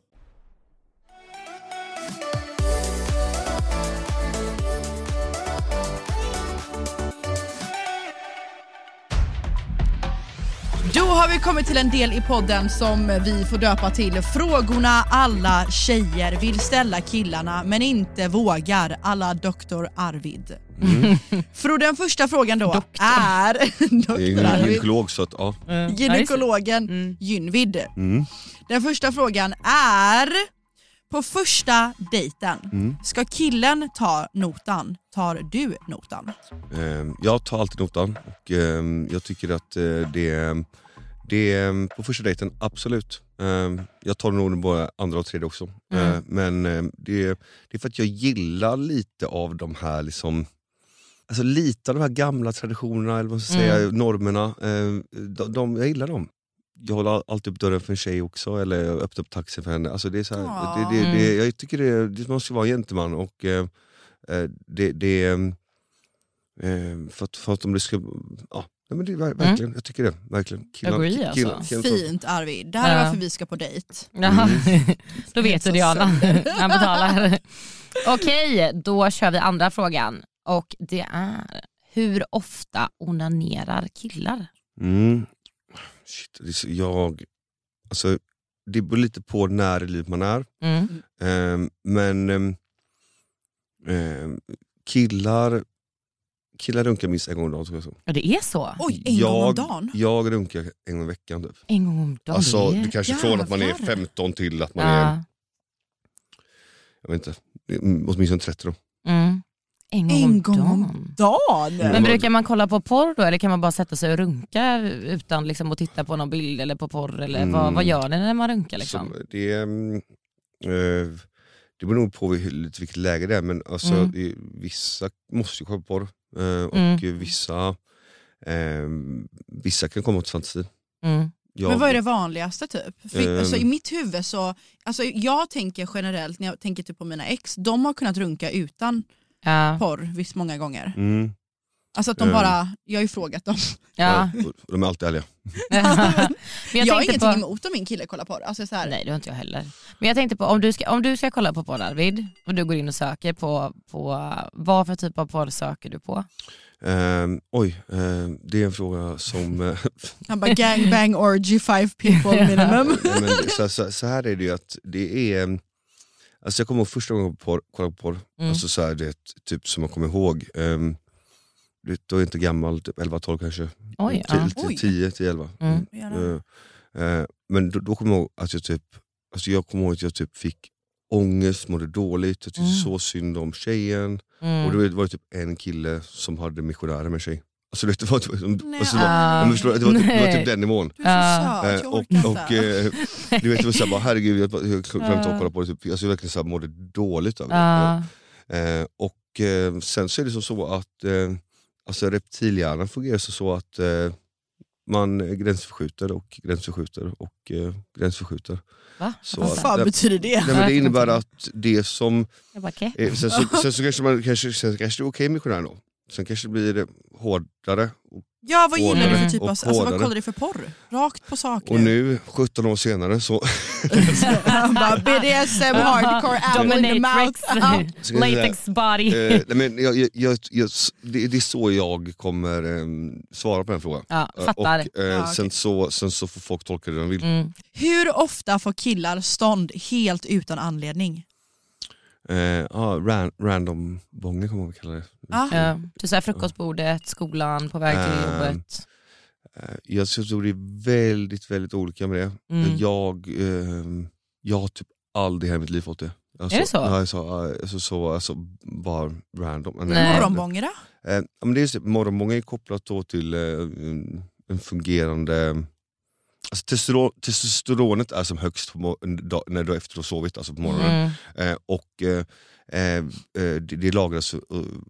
C: Då har vi kommit till en del i podden som vi får döpa till Frågorna alla tjejer vill ställa killarna men inte vågar, alla Dr. Arvid.
A: Mm.
C: För den första frågan då är...
A: Det är
C: Dr.
A: ju en
C: Arvid.
A: gynekolog så att ja.
C: gynekologen
B: Mm.
C: Gynvid.
A: Mm.
C: Den första frågan är, på första dejten,
A: Mm.
C: ska killen ta notan? Tar du notan?
A: Ehm, Jag tar alltid notan och ehm, jag tycker att eh, det, det ehm, på första dejten, absolut. Ehm, Jag tar nog både andra och tredje också. Ehm, Men ehm, det, det är för att jag gillar lite av de här liksom Alltså lite av de här gamla traditionerna, eller vad man ska säga, normerna. Ehm, De, de, jag gillar dem. Jag håller alltid upp dörren för en tjej också, eller jag öppnar upp taxin för henne. Alltså det är så
C: Ja.
A: här, det, det, det, jag tycker det, det man ska vara en gentleman. Och, eh, eh, det, det, eh, för, att, för att om det ska... Ja, nej men det, är
C: Mm.
A: ver- verkligen, jag tycker det. Verkligen.
B: Agree,
A: ki-
B: alltså.
C: Fint Arvid, det här är
B: Ja.
C: varför vi ska på dejt.
B: Jaha.
A: Mm.
B: då vet du
C: Så
B: Diana. Han betalar. Okej, då kör vi andra frågan. Och det är, hur ofta onanerar killar?
A: Mm. Shit, det är så, jag... Alltså, det beror lite på när i livet man är.
B: Mm.
A: Ehm, men ehm, ehm, killar killar runkar minst en gång om dagen. tror jag så.
B: Ja, det är så.
C: Oj, en
A: jag,
C: gång om dagen?
A: Jag runkar en gång i veckan. Typ.
B: En gång om dagen.
A: alltså,
B: det är-
A: det kanske från att man är
C: jävlar.
A: 15 till att man är
B: ja.
A: jag vet inte, mm, åtminstone 30. Då.
B: mm. En gång
C: En gång
B: om
C: om
B: dagen.
A: Mm.
C: dagen?
B: Men brukar man kolla på porr då eller kan man bara sätta sig och runka utan liksom att titta på någon bild eller på porr? Eller vad,
A: Mm.
B: vad gör ni när man runkar? Liksom?
A: Så det, är, mm, eh, det beror nog på hur- lite vilket läge det är, men alltså,
B: Mm.
A: det, vissa måste ju kolla på porr eh, och
B: Mm.
A: vissa, eh, vissa kan komma åt fantasi.
B: Mm.
A: Jag,
C: Men vad är det vanligaste typ? För,
A: Ehm.
C: alltså, I mitt huvud så, alltså, jag tänker generellt när jag tänker typ på mina ex, de har kunnat runka utan
B: Ja.
C: porr visst många gånger.
A: Mm,
C: Alltså att de
A: Ehm.
C: bara, jag har ju frågat dem.
B: Ja.
A: ja, och- och de är alltid ärliga.
B: Men
C: Jag,
B: jag
C: har
B: tänkte
C: ingenting
B: på...
C: emot om min kille kollar porr. Alltså, så här,
B: Nej det har inte jag heller. Men jag tänkte på om du ska, om du ska kolla på porr Arvid och du går in och söker på, på vad för typ av porr söker du på?
A: Ehm, oj, ehm, det är en fråga som... eh,
C: Han bara gangbang orgy five people minimum.
A: men så, så, så här är det ju att det är... Alltså jag kommer ihåg första gången jag kollade på porr, kollade på porr.
B: Mm.
A: Alltså så här, det, är typ som jag kommer ihåg. Um, då är jag inte gammal, typ 11-12 kanske.
B: Oj, ja.
A: 10-11.
C: Oj.
B: Mm.
A: Eh, eh, men då, då kommer jag ihåg att jag typ, alltså jag kommer ihåg att jag typ fick ångest, mådde dåligt, jag tyckte
B: Mm.
A: så synd om tjejen. Och
B: Mm.
A: då var det typ en kille som hade missionärer med sig. Alltså du vet, det var typ,
C: Nej,
A: alltså, det var,
B: ah.
A: men förstår du, det, var typ, det var
B: Nej.
A: typ den nivån.
C: Du är så
B: Ja.
C: söt,
A: Eh,
C: jag
A: och,
C: orkar
A: och,
C: inte.
A: eh, du vet, det var såhär, bara, herregud jag, jag glömde att kolla på det. Typ, alltså, jag verkligen så här, mådde dåligt av det.
B: Ja.
A: Eh, och eh, Sen så är det som så att eh, alltså reptilhjärnan fungerar som så att eh, man gränsförskjuter och gränsförskjuter och eh, gränsförskjuter.
B: Va?
A: Så
C: Vad
A: att,
C: fan
A: nej,
C: betyder det?
A: nej, men det innebär att det som...
B: Jag bara, okej.
A: Eh, sen, så, sen så kanske, man, kanske, sen kanske det är okej med missionären då. Sen kanske det blir hårdare. Och,
C: Ja, vad gillar du för
A: Hårdare
C: typ av...
A: och
C: Alltså, vad
A: hårdare.
C: kollar du för porr? Rakt på sak
A: och nu, 17 år senare, så...
C: Han bara BDSM hardcore apple in the
B: Dominatrix,
C: mouth. Ja.
A: Ska jag säga-
B: latex body.
A: Eh, nej, men jag, jag, jag, jag, det, det är så jag kommer ehm, svara på den frågan.
B: Ja,
A: Eh,
B: fattar.
A: Och, eh,
C: Ja, okej.
A: sen, så, sen så får folk tolka det de vill.
B: Mm.
C: Hur ofta får killar stånd helt utan anledning?
A: Eh, ah, ran, random bånger kommer man att kalla det.
C: Ja.
B: Ja, typ såhär frukostbordet, skolan, på väg till
A: Ehm,
B: jobbet.
A: Eh, jag tror det är väldigt, väldigt olika med det. Eh,
B: Mm.
A: Jag, ehm, jag har typ aldrig i hela mitt liv fått det. Alltså,
B: Är det så?
A: Ja, alltså, eh, alltså, så, alltså, bara random. Nej,
B: Nej.
C: Morgonbånger då?
A: Eh, ja, men det är just det. Morgonmånga är kopplat då till eh, en, en fungerande... Alltså testosteron, testosteronet är som högst på mor- dag- när du efter du har sovit, alltså på morgonen.
B: Mm.
A: Eh, och eh, eh, eh, det, det lagras och,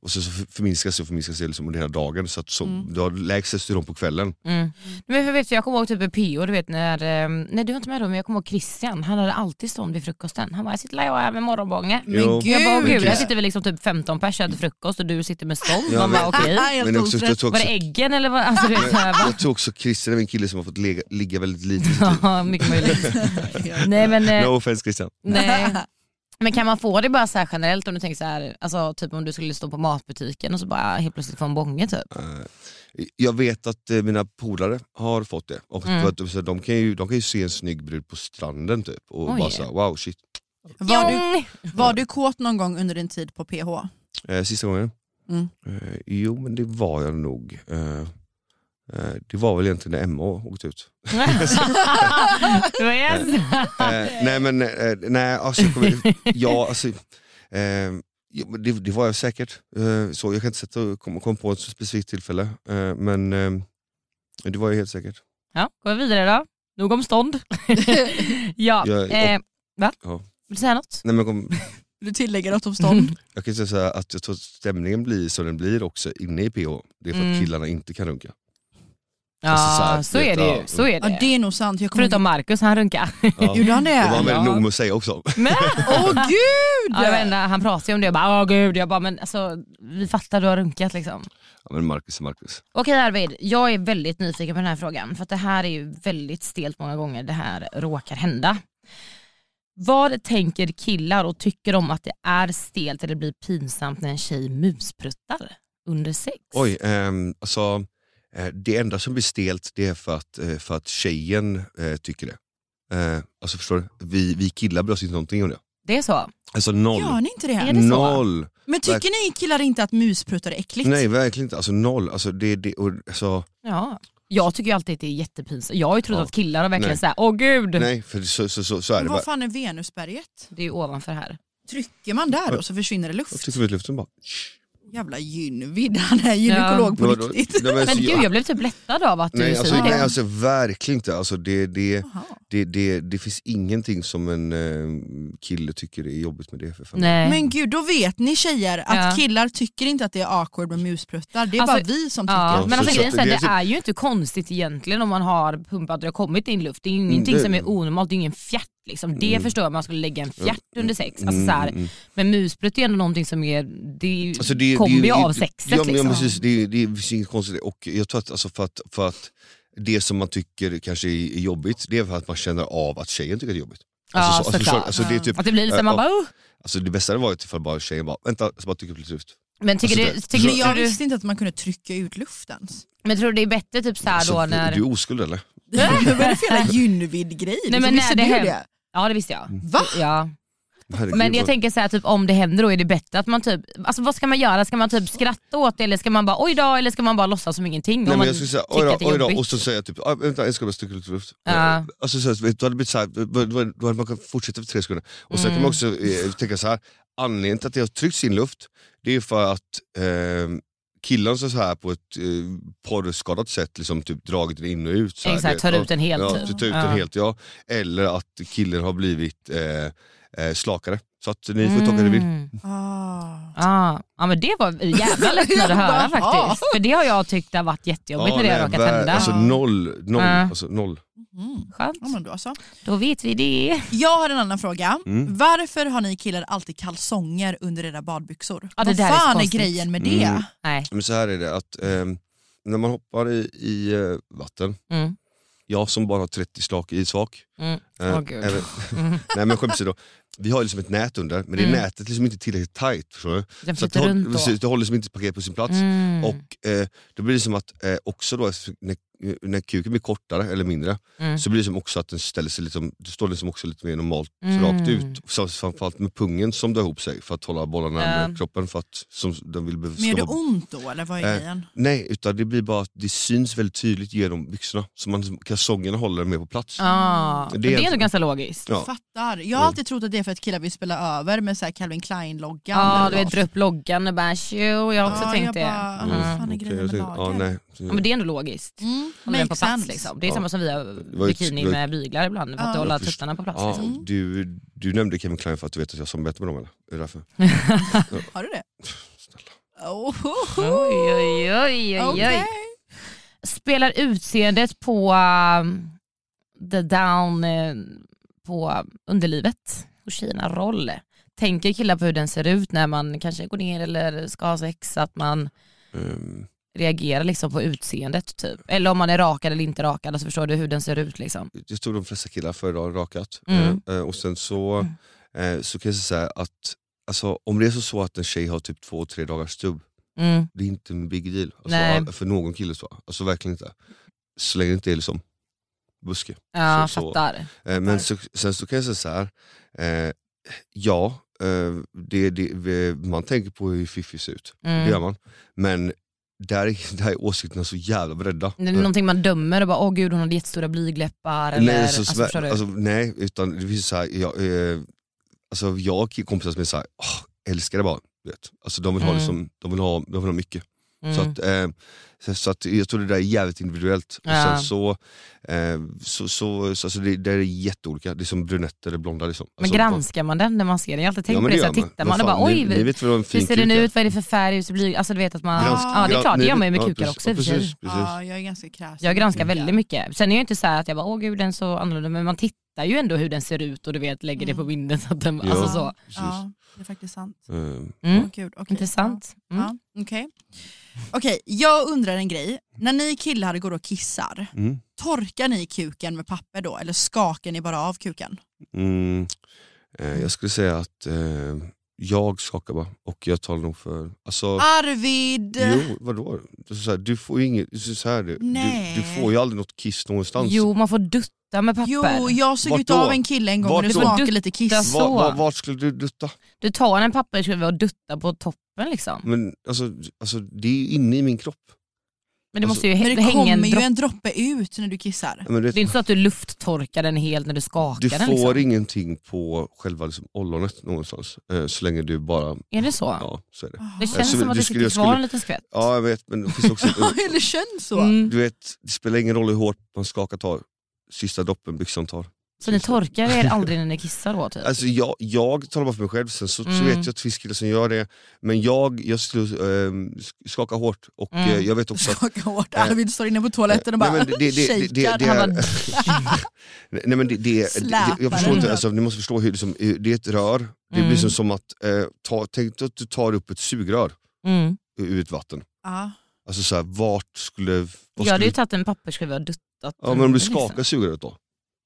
A: och sen så förminskas det och förminskas det liksom under hela dagen. Så att så,
C: Mm.
A: du har lägst testosteron på kvällen.
B: Mm. Men för vet du, jag kommer ihåg typ i PO, du vet när, eh, nej du var inte med då, men jag kommer ihåg Christian, han hade alltid stånd vid frukosten. Han bara, jag sitter där jag är med morgonbånge.
A: Men Jo.
B: Jag bara, åh,
A: Men
B: gud, här
A: Christ-
B: sitter vi liksom typ 15 pers och äter frukost och du sitter med stånd.
A: Ja,
B: Man
A: men-
B: bara okej.
C: Helt
A: Men också,
C: orätt.
A: jag tror
B: Var
A: också,
B: det äggen eller vad? Alltså, du vet, så här, va?
A: jag tror också Christian är en kille som har fått lega, ligga väldigt lite. i sitt liv.
B: Ja, mycket möjligt. nej men, eh,
A: No offense Christian.
B: nej. men kan man få det bara så här generellt om du tänker så här, alltså typ om du skulle stå på matbutiken och så bara helt plötsligt få en bånge typ.
A: Eh, Jag vet att eh, mina polare har fått det. Och
B: Mm.
A: för att, så de, kan ju, de kan ju se en snygg brud på stranden typ och
B: Oj.
A: bara såhär wow shit.
C: Var du,
B: Jong!
C: var du kåt någon gång under din tid på PH?
A: Eh, sista gången?
C: Mm.
A: Eh, jo men det var jag nog. Eh, eh, det var väl egentligen när Emma åkte ut.
B: Det var yes.
A: Eh, nej men eh, nej, alltså, jag kommer, ja, alltså, eh, ja, men det, det var jag säkert. Eh, så, jag kan inte sätta, kom, kom på ett specifikt tillfälle eh, men eh, det var jag helt säkert.
B: Ja, går vi vidare då. Nog om stånd. ja,
A: Jag- och-
B: eh, va?
A: ja.
B: Vill du säga något?
A: Nej, men jag kom,
C: Du tillägger något om stånd.
A: Jag kan säga så här att jag tror att stämningen blir som den blir också inne i PH. Det är för
B: Mm.
A: att killarna inte kan runka.
B: Ja,
A: Alltså så
B: så,
A: här,
B: är det ju.
A: ja.
B: Så är
C: Ja,
B: det.
C: det är nog sant. Jag kommer
B: Förutom Marcus, han runkar.
A: Ja.
C: Gjorde han det?
A: Det var han väldigt
B: Ja.
A: noga med att säga också.
B: Men,
C: Åh gud!
B: ja, det var enda, han pratade ju om det, jag bara åh gud, jag bara men alltså vi fattar du har runkat liksom.
A: Ja, men Marcus är Marcus.
B: Okej Arvid, jag är väldigt nyfiken på den här frågan för att det här är ju väldigt stelt många gånger det här råkar hända. Vad tänker killar och tycker om att det är stelt eller blir pinsamt när en tjej muspruttar under sex?
A: Oj, ehm, alltså, eh, det enda som blir stelt det är för att, eh, för att tjejen eh, tycker det. Eh, alltså förstår du? Vi, vi killar bryr oss inte någonting om det.
B: Det är så?
A: Alltså noll.
C: Gör ni inte det?
B: Är det så?
A: Noll!
C: Men tycker ni killar inte att muspruttar är äckligt?
A: Nej verkligen inte, alltså noll. Alltså, det, det, och, alltså,
B: Ja. Jag tycker ju alltid att det är jättepinsamt. Jag har ju trott
A: Ja.
B: att killar har verkligen
A: Nej.
B: såhär, åh gud.
A: nej, för så, så, så, så är det bara.
C: Vad fan är venusberget?
B: Det är ju
A: Alltså,
B: ovanför här.
C: Trycker man där då så försvinner det
A: Jag
C: luft?
A: trycker ut luften bara.
C: Jävla gynvid, han är gynekolog på
A: Men vadå?
C: riktigt.
A: Nej, men
B: Men
A: alltså,
B: gud jag blev typ lättad av att du
A: Nej, alltså,
B: säger det.
A: nej alltså, verkligen inte. Alltså, det, det,
C: Jaha.
A: det, det, det finns ingenting som en eh, kille tycker är jobbigt med det. För fan.
B: Nej.
C: Men gud, då vet ni tjejer att
B: Ja.
C: killar tycker inte att det är awkward med muspruttar. Det är
B: Alltså,
C: bara vi som tycker.
B: Ja,
A: Ja,
B: men
A: så-
B: alltså,
A: så att
B: grejen är så här,
A: det är
B: det
A: typ-
B: är ju inte konstigt egentligen om man har pumpat och det har kommit in luft. Det är ju ingenting
A: Mm, det- Mm.
B: som är onormalt, det är ingen fjärt. Liksom. Det förstår jag om man skulle lägga en fjärt under sex. Alltså, så här, men musprutt är ändå någonting som är, det, är ju-
A: Alltså, det-
B: kommer
A: det-
B: ju
A: det-
B: av sexet.
A: Ja, men, ja,
B: liksom.
A: men precis, det, det finns inget konstigt i det. och jag tror att, alltså, för att, för att det som man tycker kanske är är jobbigt, det är för att man känner av att tjejen tycker det är jobbigt.
B: Ja,
A: Alltså, så, alltså, förstår
B: såklart.
A: du? alltså, det, är typ,
B: Att det blir
A: eh,
B: lite såhär, man
A: ja,
B: bara oh.
A: alltså, det bästa hade varit ifall bara tjejen bara, vänta, så bara tycker det blir ut.
B: Men tycker
A: Alltså,
B: du,
A: det-
B: tycker
C: Men jag
B: du,
C: visste inte att man kunde trycka ut luften.
B: men tror du det är bättre typ såhär
A: Alltså,
B: då
A: du-
B: när...
A: Du är oskuld eller?
C: Vad är det för jävla gynvid-grej?
B: Nej, men
C: Liksom, Visste
B: när det
C: du
B: händer-
C: det?
B: Ja det visste
A: Mm.
B: jag.
C: Va?
B: Ja.
A: Herregud,
B: Men jag
A: vad-
B: tänker så här, typ om det händer då är det bättre att man typ, alltså vad ska man göra? Ska man typ skratta åt det eller ska man bara oj då eller ska man bara låtsas som ingenting?
A: Nej,
B: om
A: men
B: man
A: jag skulle säga
B: tycker
A: oj då,
B: att det är
A: oj då,
B: jobbigt?
A: och så säger jag typ "Ah, vänta jag ska bara sticka lite luft.
B: Ja.
A: Alltså, så, här, vet du, då hade det blivit så här, då, då, då hade man kunnat fortsätta för tre sekunder. Och sen
B: Mm.
A: kan man också eh, tänka så här anledningen till att jag har tryckt sin luft, det är för att eh, killen så här på ett eh, porrskadat sätt liksom, typ, dragit den in och ut. Så här,
B: Exakt,
A: det-
B: tar ut den helt,
A: Ja,
B: typ.
A: tar ut
B: Ja.
A: den helt ja. Eller att killen har blivit eh, eh, slakare. Så att ni
B: Mm.
A: får tolka det vill.
C: Ah.
B: Ah, ja men det var jävla lättnad att
C: Jaha.
B: höra faktiskt. För det har jag tyckt har varit jättejobbigt när det har
A: nej,
B: råkat
A: vä-
B: hända.
A: Alltså noll, noll,
B: Ja.
A: alltså noll.
C: Mm.
B: Skönt.
C: Ja, men då så.
B: Då vet vi det.
C: Jag har en annan fråga.
A: Mm.
C: Varför har ni killar alltid kalsonger under era badbyxor?
B: Ja, det
C: Vad
B: där är så
C: fan är,
B: konstigt.
C: grejen med det?
A: Mm.
B: Nej.
A: Men så här är det att ehm, när man hoppar i, i eh, vatten,
B: Mm.
A: jag som bara har 30 slak i svak.
B: Mm.
A: eh,
B: Åh, gud.
A: även-
B: Mm.
A: nej men skämt åsido, vi har liksom ett nät under men det
B: Mm.
A: nätet är liksom inte tillräckligt tight. Förstår du?
B: Den
A: Så att det,
B: flyter
A: håller,
B: runt då.
A: precis, det håller liksom inte paket på sin plats.
B: Mm.
A: Och eh, då blir det som att eh, också då, när, när kuken blir kortare eller mindre
B: Mm.
A: så blir det som också att den ställer sig liksom, det står liksom också lite mer normalt
B: Mm.
A: rakt ut. Så- Framförallt med pungen som drar ihop sig för att hålla bollarna närmare
B: Ja.
A: kroppen. För att, som den vill be-
C: Men gör det
A: ska vara-
C: ont då eller vad är
A: Eh,
C: grejen?
A: Nej, utan det blir bara att det syns väldigt tydligt genom byxorna. Så man, liksom, kalsongerna håller mer på plats.
B: Ah,
A: Det är
B: men det är
A: egentligen-
B: ändå ganska logiskt.
A: Ja. Mm.
C: Fattar. Jag har alltid trott att det är för att killar vill spela över med så här Calvin Klein-loggan.
B: Ja,
C: eller
B: du vet
C: något.
B: dra upp loggan och bara tjo, jag har också
C: Ja,
B: tänkt
C: jag
B: det.
C: bara,
B: Mm.
C: vad fan är
A: Okej,
C: grejen
A: jag
C: med
A: tänkte- ja,
C: lagen?
A: nej.
B: Ja, men det är ändå logiskt.
C: Mm,
B: Håller den på
C: makes
B: plats
C: sense.
B: liksom. Det är
A: Ja.
B: samma som vi har
A: var ju ett-
B: bikini
A: det var ett-
B: med byglar ibland för att
C: Ja.
B: hålla
A: Jag förstår.
B: tuttarna på plats.
A: Ja,
B: liksom.
A: du, du nämnde Kevin Klein för att du vet att jag samarbetar med dem eller? Är det därför?
C: Har du det?
A: Snälla.
C: Ohoho.
B: Oj, oj, oj, oj, oj.
C: Okej.
B: Spelar utseendet på um, the down, eh, på underlivet hos tjejerna roll? Tänker killar på hur den ser ut när man kanske går ner eller ska ha sex, att man
C: Mm.
A: Ehm,
B: reagerar liksom på utseendet typ? Eller om man är rakad eller inte rakad, så förstår du hur den ser ut liksom.
A: jag tror de flesta killar föredrar rakat.
B: Mm.
A: Eh, eh, och sen så, eh, så kan jag säga att alltså, om det är så, så att en tjej har typ två, tre dagars stubb,
B: Mm.
A: det är inte en big deal. Alltså,
B: Nej.
A: all- För någon kille så. Alltså verkligen inte. Så länge det inte är liksom buske.
B: Ja,
A: Så- så-
B: fattar.
A: Eh, Men så, sen så kan jag säga så här. Eh, ja, eh, det, det, vi- man tänker på hur fiffig ser ut.
B: Mm.
A: Det gör man. Men där är, där är åsikterna så jävla bredda.
B: Det är någonting man dömer och bara åh gud hon hade jättestora blygläppar eller
A: nej,
B: alltså,
A: så,
B: förstår du?
A: alltså, nej, utan det finns så här, jag, eh, alltså, jag och kompisar som är så här, "Åh, älskar det bara. du Vet. Alltså, de, vill ha
B: Mm.
A: liksom, de, vill ha, de vill ha mycket.
B: Mm.
A: Så, att, eh, så, så att jag tror det där är jävligt individuellt. Och
B: Ja.
A: sen så, eh, så, så, så alltså, det, det är jätteolika, det är som brunetter eller blonda. Liksom.
B: men
A: Alltså, vad-
B: granskar man den när man ser den? Jag har alltid tänkt
A: men
B: på det, så
A: gör
B: här, tittar man
A: Vad
B: och bara
A: fan,
B: oj
A: ni, ni vet väl vad en
B: hur
A: fin
B: ser den
A: kuk är?
B: ut, vad är det för färg, hur ser blyg, alltså du vet att man...
A: Gransk-
B: ja det är
A: gran-
B: klart, det
A: ni
B: gör man ju
A: vet-
B: med
A: ja,
B: kukar
A: precis-
B: också i och för
A: ja,
B: sig.
A: precis, Mm.
C: Ja,
A: precis.
C: jag är ganska kräsen.
B: Jag granskar väldigt mycket. Sen är jag inte så här att jag bara åh gud den är så annorlunda, men man tittar ju ändå hur den ser ut och du vet lägger det på vinden så att den,
A: Ja.
B: alltså så.
A: Precis.
C: Mm. Ja, det är faktiskt sant.
A: Ehm,
B: Mm.
C: Åh, gud, okej.
B: Intressant.
C: Ja.
B: Mm.
C: Ja, Okej, Okej, jag undrar en grej. När ni killar går och kissar,
A: Mm.
C: torkar ni kuken med papper då eller skakar ni bara av kuken?
A: mm, eh, jag skulle säga att eh, jag skakar bara och jag talar nog för... Alltså,
B: Ah,
C: Arvid!
A: jo, vadå? Det är Så här, du får ju inget... Så här, du, du,
C: Nej.
A: du får ju aldrig något kiss någonstans.
B: Jo man får dutta med papper. Alltså,
C: Jo, jag såg
A: Vart
C: ut
A: då?
C: av en kille en gång och
A: Vart
C: det
A: då?
C: smakade lite
B: Dutta
C: kiss.
A: Var,
B: så.
A: var, vart skulle du dutta?
B: Du tar en pappersskruv och duttar på toppen liksom.
A: Men, alltså, alltså, det är ju inne i min kropp.
B: Men det
A: Alltså-
B: måste ju
C: Men
B: hä-
C: det
B: hänga en
C: kommer ju
B: droppe.
C: en droppe ut när du kissar.
A: Men, du
B: Det är
A: vet,
B: inte så att du lufttorkar den helt när du skakar
A: du
B: den
A: får
B: liksom.
A: ingenting på själva liksom, ollonet någonstans. Eh, så länge du bara...
B: Är det så?
A: Ja, så är det.
C: Ah.
B: Det
A: Ja,
B: känns
A: så
B: som att
A: du
B: det
A: skulle-
B: sitter
A: jag
B: kvar
A: skulle-
B: en liten skvätt.
A: Ja, jag vet, men det finns också...
C: Eller känns så.
B: Mm.
A: Du vet, det spelar ingen roll hur hårt man skakar tar, sista droppen byxan tar.
B: Så ni torkar er aldrig när ni kissar då typ?
A: Alltså jag, jag talar bara för mig själv, sen så, så
B: Mm.
A: vet jag att det finns killar som gör det. Men jag, jag skulle, ehm, sk- skaka hårt och
B: Mm.
A: eh, jag vet också att...
C: Skaka hårt.
A: Eh,
C: Arvid står inne på toaletten och
A: Nej,
C: bara
A: men det- det- det- det- det-
C: shakar.
A: det-
B: Han
A: är-
B: bara,
A: Nej, men det, det, det, jag
C: Släpar
A: förstår
B: den.
A: inte, alltså, ni måste förstå hur liksom, eh, det är ett rör. Det
B: Mm.
A: blir som, som att, eh, ta, tänk dig att du tar upp ett sugrör
B: mm.
A: ur ett vatten.
C: Ja.
A: Alltså så här, vart skulle... Vad
B: Jag
A: skulle
B: hade ju tagit en pappersskruv och duttat
A: ja, men om du
B: den, liksom.
A: skakar sugröret då?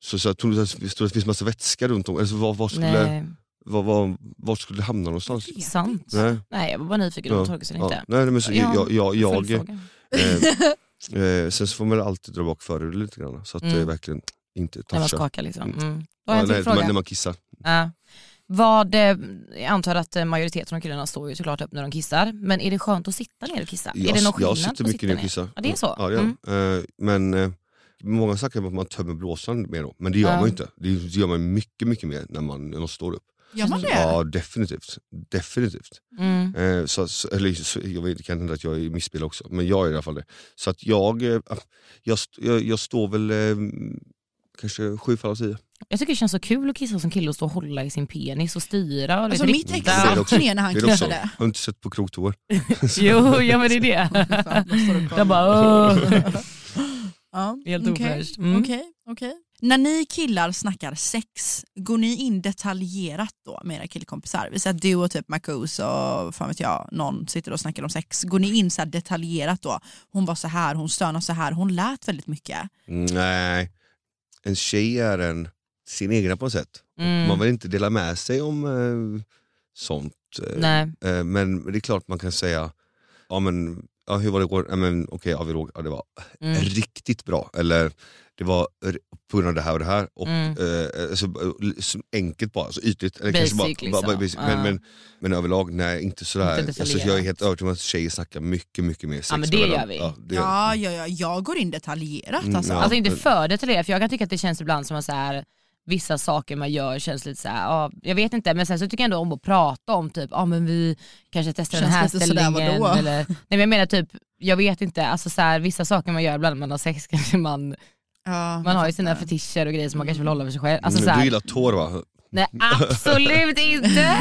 A: Så, så här, tror du att det tror du att det finns massa vätska runt om? Eller så, var, var skulle...
B: Nej,
A: Var, var, vart skulle det hamna någonstans?
B: sant.
A: Nej.
B: Nej jag var bara nyfiken om
A: Ja,
B: de torkar sig eller
A: Ja.
B: inte.
A: Nej, nej, men så,
B: Ja,
A: jag, jag, jag,
B: Följdfråga.
A: eh, eh, sen så får man alltid dra bak förhuden lite grann så att det
B: Mm.
A: verkligen inte
B: När man
A: touchar.
B: skakar liksom.
A: Mm.
B: Mm. Då har
A: Ja,
B: jag en
A: nej,
B: till
A: när, man,
B: fråga.
A: när man kissar.
B: Ja. Vad, eh, jag antar att eh, majoriteten av killarna står ju såklart upp när de kissar, men är det skönt att sitta ner och kissa? är
A: Jag,
B: det någon
A: jag
B: skillnad på
A: sitter
B: att
A: mycket
B: sitta
A: ner och kissar.
B: Ja, det är så?
A: Ja, det gör
B: Mm.
A: jag. eh, Men eh, många snackar om att man tömmer blåsan mer då, men det gör
B: Ja.
A: man ju inte. Det gör man mycket, mycket mer när man, när man står upp.
C: Gör man det?
A: Ja, definitivt. Definitivt.
B: Mm.
A: Eh, så, så, eller, så, jag vet, det kan hända att jag är missbildad också, men jag är i alla fall det. Så att jag, eh, jag, st- jag, jag står väl eh, kanske sju fall av tio.
B: Jag tycker det känns så kul att kissa som kille och stå och hålla i sin penis och styra. Och du vet,
C: Alltså mitt
B: rikta.
C: ex
A: Det är
C: var
A: det också.
C: ner när han
A: Det är också,
C: knullade.
A: jag har inte sett på kroktoar.
B: Jo, ja men det är det. De bara åh.
C: Ja,
B: Helt
C: okej,
B: ofräscht. Mm.
C: okej, okej. När ni killar snackar sex, går ni in detaljerat då med era killkompisar? Vi säger att du och typ Marcus och fan vet jag, någon sitter och snackar om sex. Går ni in så här detaljerat då? Hon var så här, hon stönade så här, hon lät väldigt mycket.
A: Nej, en tjej är en, sin egna på ett sätt.
B: Mm.
A: Man vill inte dela med sig om eh, sånt. eh,
B: Nej.
A: Eh, men det är klart man kan säga, ja men ja, hur var det igår? Ja, men, okej, ja, vi låg, ja, det var
B: Mm.
A: riktigt bra. Eller det var r- på grund av det här och det här. Och,
B: Mm.
A: eh, alltså, eh, så enkelt bara, alltså ytligt. Eller kanske bara,
B: Basic,
A: bara- bara
B: liksom.
A: basic.
B: Ja.
A: men, men, men överlag, nej inte sådär.
B: Inte
A: alltså, jag är
B: detaljerat.
A: helt övertygad om att tjejer snackar mycket, mycket mer sex
B: men det
A: med
B: gör
A: varandra.
B: vi.
A: Ja, det,
C: Ja, ja, ja, jag går in detaljerat
A: Mm,
C: alltså.
A: ja.
B: Alltså inte för detaljerat, för jag kan tycka att det känns ibland som att så här, vissa saker man gör känns lite så här, ja, jag vet inte, men sen så tycker jag ändå om att prata om typ, ja men vi kanske testar den
C: Känns
B: här
C: lite sådär,
B: ställningen.
C: vadå?
B: eller, nej men jag menar typ, jag vet inte, alltså så här, vissa saker man gör ibland när man har sex kanske man,
C: Ja,
B: man har ju
C: jag
B: sina
C: fattar.
B: fetischer och grejer som man kanske vill hålla för sig själv. Alltså,
A: Mm, Men
B: så
A: Du
B: här,
A: gillar tår va?
B: Nej absolut inte!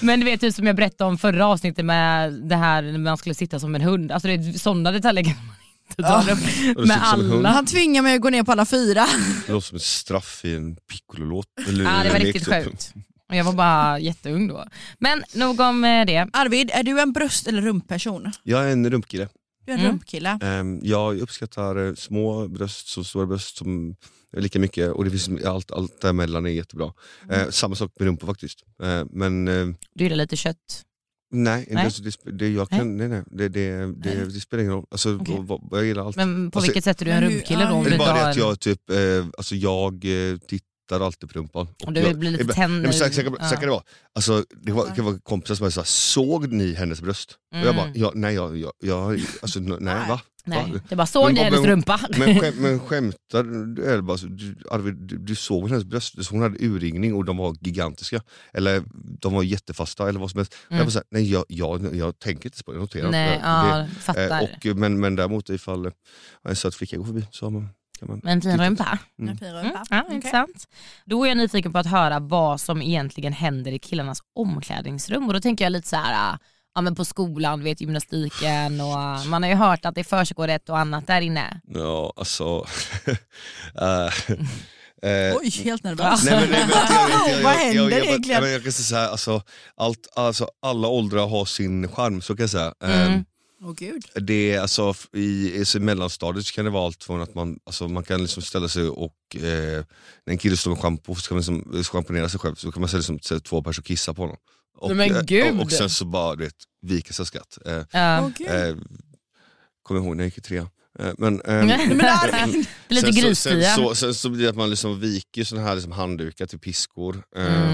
B: Men du vet typ som jag berättade om förra avsnittet med det här när man skulle sitta som en hund, alltså det är sådana detaljer kan man inte ta upp med
A: Ah, sitter som en hund.
B: alla.
C: Han tvingar mig att gå ner på alla fyra.
A: Det låter som ett straff i en piccololåt. Eller
B: Ja det var
A: en
B: riktigt
A: lek, typ.
B: sjukt. Och jag var bara jätteung då. Men nog om eh, det.
C: Arvid, är du en bröst eller rumpperson?
A: Jag är en rumpkille.
C: Du är en
B: Mm.
C: rumpkille.
A: Ehm, Jag uppskattar eh, små bröst som stora bröst som lika mycket och det finns allt, allt däremellan är jättebra.
B: Mm.
A: Eh, Samma sak med rumpor faktiskt. Eh, men eh,
B: Du gillar lite kött.
A: nej,
B: Nej.
A: Det, sp- det, jag kan, nej. Nej, Det, det, det, det spelar ingen roll. Alltså,
B: Okej.
A: vad- vad- jag gillar allt.
B: Men på
A: Alltså,
B: vilket sätt är du en
C: men hur-
B: rumpkille då?
C: ja,
B: Om
A: det
B: du,
A: är bara
B: inte
A: det
B: har
A: att
B: en,
A: jag, typ, eh, alltså, jag eh, tittar alltid på rumpan. Och
B: om du
A: jag-
B: vill bli lite
A: ibland-
B: tänder.
A: Nej, men så, här- så, här- så här kan det vara. Alltså, det var,
C: Ja.
A: det kan vara kompisar som sa såg ni hennes bröst? Och jag bara,
B: Mm.
A: ja, nej, jag, jag, jag, alltså, n- nej va?
B: Nej,
A: Va?
B: det är bara såg
A: Men
B: ni
A: vad-
B: hennes
A: men-
B: rumpa?
A: Men, skäm, men skämtar du? Eller bara, så- du, Arvid, du, du såg väl hennes bröst? Hon hade urringning och de var gigantiska. Eller de var jättefasta eller vad som helst.
B: Mm.
A: Jag, bara så här, nej, jag, jag, jag tänker inte ens på det, jag noterar
B: Nej,
A: inte det.
B: ja,
A: Det- eh,
B: fattar.
A: och, men, men däremot ifall eh, en söt flicka går förbi så har man, kan man...
B: Men fin rumpa.
A: Mm.
B: Mm, ja, intressant. Då är jag nyfiken på att höra vad som egentligen händer i killarnas omklädningsrum. Och då tänker jag lite så här, ah, ja, men på skolan, du vet gymnastiken och ah, man har ju hört att det försiggår ett och annat där inne.
A: Ja, alltså... eh, eh,
C: Oj, helt nervös.
A: Nej, men, nej, men, jag,
B: Alltså,
A: vet, jag,
C: Vad
A: jag, jag,
C: händer
A: jag, jag,
C: egentligen?
A: men jag kan säga så här, alltså, allt, alltså, alla åldrar har sin charm, så kan jag säga.
B: Mm.
A: Ehm,
C: Åh gud.
A: Det är, alltså, f- i, i så mellanstadiet så kan det vara allt från att man, alltså, man kan liksom ställa sig och, eh, när en kille står med schampo så kan man liksom, schamponera sig själv, så kan man ställa sig liksom, två personer och kissa på honom. Och,
B: Nej, men
A: eh,
B: gud!
A: och, och sen så bara du vet, vika sig av skratt. Eh,
B: Ja.
C: Åh gud.
A: eh, Kommer ihåg när jag gick i trean. Eh, men, ehm,
B: Nej, men Arvid! Det är lite
A: sen, så, sen,
B: grisstian.
A: så, sen så blir det att man liksom viker såna här liksom handdukar till piskor. Eh,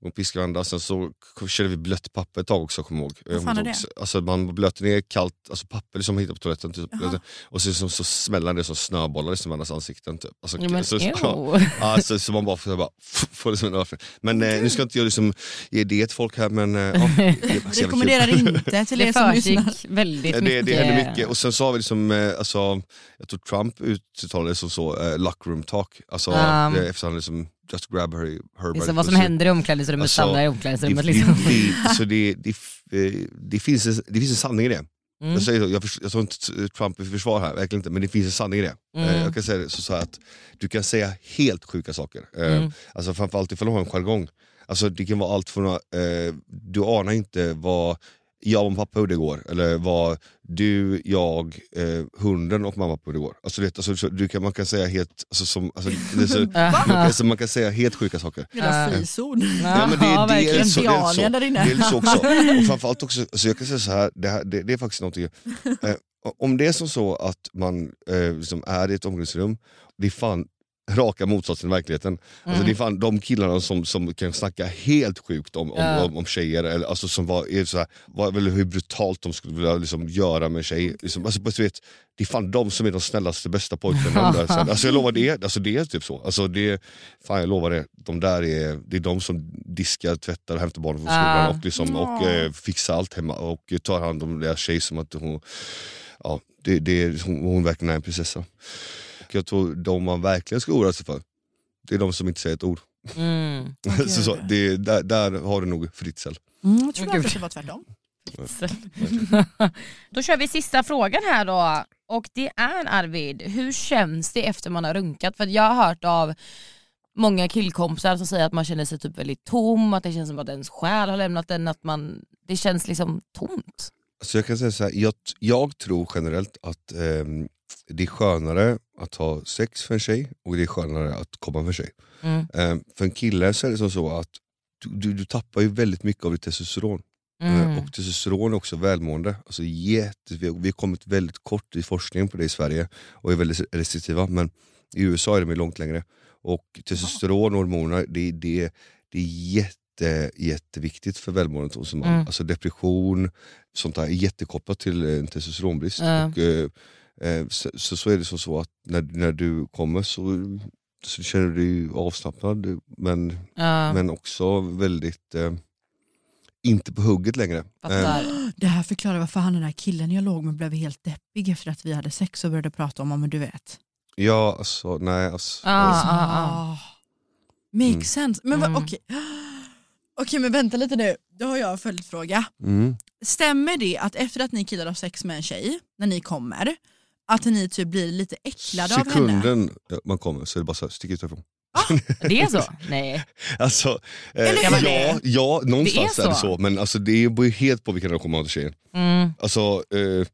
B: Mm.
A: och piskade varandra. Sen så k- körde vi blött papper ett tag också, kommer jag ihåg.
C: Vad fan är det?
A: Alltså, man blöter ner kallt alltså papper som man hittar på toaletten. Typ.
C: Jaha.
A: Och sen så, så smäller det som snöbollar i varandras ansikten. Typ. Alltså,
B: Ja, men,
A: så, så,
B: ew.
A: alltså, så man bara får, bara, f- får det som en överflöd. Men eh, nu ska inte jag liksom ge det till folk här, men eh, ja, det är faktiskt jävligt kul.
C: Rekommenderar inte till er
B: Det
C: som lyssnar.
B: försiggick väldigt
A: Ja, Det,
B: mycket.
A: det hände mycket. Och sen så har vi liksom, eh, alltså, jag tror Trump uttalade det som så, eh, locker room talk. Alltså,
B: Ja.
A: eh, Eftersom han liksom, just grab her, her by
B: Det är
A: the
B: så vad som
A: pussy.
B: händer i omklädningsrummet
A: Alltså,
B: stannar i omklädningsrummet.
A: Det-
B: Liksom.
A: det- det- så det- det f- eh, Det finns en- det finns en sanning i det.
B: Mm.
A: Jag, säger så, jag, förs- jag tar inte Trump i försvar här, verkligen inte, men det finns en sanning i det.
B: Mm.
A: Eh, Jag kan säga det så, så här att du kan säga helt sjuka saker. Eh,
B: Mm.
A: Alltså framförallt ifall du har en jargong. Alltså, det kan vara allt från, att, eh, du anar inte vad jag och pappa gjorde igår, eller vad du, jag, eh, hunden och mamma gjorde igår. Alltså, du vet, alltså, så du kan, man kan säga helt, alltså, som, alltså, det är så, man, kan, alltså, man kan säga helt sjuka saker.
C: Lilla
B: Äh.
C: frizon.
A: Ja, men det,
B: Ja,
A: det, är
B: verkligen.
A: så, det är så.
C: Indianer där inne.
A: Det är lite så också. Och framförallt också, alltså jag kan säga så här, det, här, det, det är faktiskt någonting. Eh, om det är som så att man eh, liksom är i ett omklädningsrum, det är fan raka motsatsen i verkligheten. Alltså
B: Mm.
A: det är fan de killarna som, som kan snacka helt sjukt om, om,
B: Ja.
A: om, om tjejer, eller, alltså som var, är så här, var, väl hur brutalt de skulle vilja liksom, göra med en tjej. Liksom, alltså, på ett sätt, det är fan de som är de snällaste, bästa pojkarna. de där, sen. alltså, jag lovar, det, är- alltså, det är typ så. Alltså, det, är- fan jag lovar det, de där är, det är de som diskar, tvättar, hämtar barnen från skolan
B: Ja.
A: och, liksom, och eh, fixar allt hemma och eh, tar hand om deras tjej som att hon, ja, det, det, är- hon, hon verkligen är en prinsessa. Jag tror de man verkligen ska oroa sig för, det är de som inte säger ett ord.
D: Mm.
A: så, så, det, där, där har du nog Fritzl.
C: Mm, jag tror
D: Gud.
C: att det var tvärtom.
B: Då kör vi sista frågan här då. Och det är Arvid, hur känns det efter man har runkat? För att jag har hört av många killkompisar som säger att man känner sig typ väldigt tom, att det känns som att ens själ har lämnat den, att man, det känns liksom tomt.
A: Så jag kan säga så här, jag, jag tror generellt att ehm, det är skönare att ha sex för en tjej och det är skönare att komma för en tjej.
B: Mm.
A: Ehm, för en kille så är det som så att du, du, du tappar ju väldigt mycket av ditt testosteron.
B: Mm.
A: Eh, Och testosteron är också välmående. Alltså jätte, vi, har, vi har kommit väldigt kort i forskningen på det i Sverige och är väldigt restriktiva. Men i USA är de ju långt längre. Och testosteron och hormoner, det, det, det är jätte, jätteviktigt för välmåendet hos en man.
B: Mm.
A: Alltså depression, sånt där är jättekopplat till eh, en testosteronbrist.
B: Ja.
A: Och, eh, eh, så, så, så är det som så att när, när du kommer så, så känner du dig ju avslappnad men,
B: Ja,
A: men också väldigt eh, inte på hugget längre. Eh,
B: fattar.
C: Det här förklarar varför han den där killen jag låg med blev helt deppig efter att vi hade sex och började prata om, ja, men du vet.
A: ja, alltså, nej, alltså,
B: Ja,
C: Så,
B: ja, ja.
C: ah, Makes
A: Mm.
C: sense. Men
B: Mm.
C: mm. okej. Okej, men vänta lite nu. Då har jag en följdfråga.
A: Mm.
C: Stämmer det att efter att ni killar har sex med en tjej, när ni kommer, att ni typ blir lite äcklade av henne?
A: Sekunden man kommer så är det bara så här, stick ut härifrån.
B: Det är så? Nej.
A: Alltså, eh,
C: Eller hur?
A: ja, ja, någonstans
B: Det
A: det
B: är
A: är, det
B: så.
A: så. Men alltså, det beror ju helt på vilken relation man har till tjejen.
B: Mm.
A: Alltså, eh,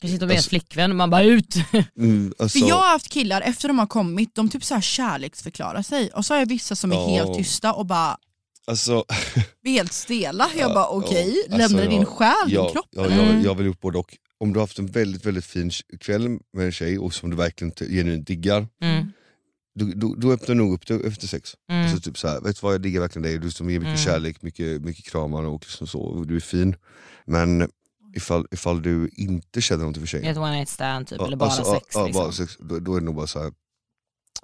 B: Kanske inte om ens
A: Alltså-
B: flickvän, man bara ut.
A: mm, alltså,
C: För jag har haft killar, efter de har kommit, de typ så här kärleksförklarar sig och så har jag vissa som är
A: Ja.
C: helt tysta och bara
A: alltså,
C: blir helt stela. Jag
A: Ja,
C: bara okej,
A: ja,
C: lämnar
A: alltså,
C: lämnar din
A: ja,
C: själ, din
A: ja,
C: kropp?
A: ja,
B: Mm.
A: jag, jag har väl gjort både och. Om du har haft en väldigt väldigt fin kväll med en tjej och som du verkligen inte genuint diggar,
B: Mm.
A: då, då, då öppnar du nog upp det efter sex.
B: Mm.
A: Alltså typ så här, vet du vad jag diggar verkligen dig, du som ger mycket
B: Mm.
A: kärlek, mycket, mycket kramar och liksom så, och du är fin. Men ifall, ifall du inte känner någonting för tjejen,
B: Ett one night stand typ,
A: Ja,
B: eller bara
A: alltså,
B: sex.
A: ja, ja,
B: liksom.
A: bara sex. Då, då är det nog bara så här.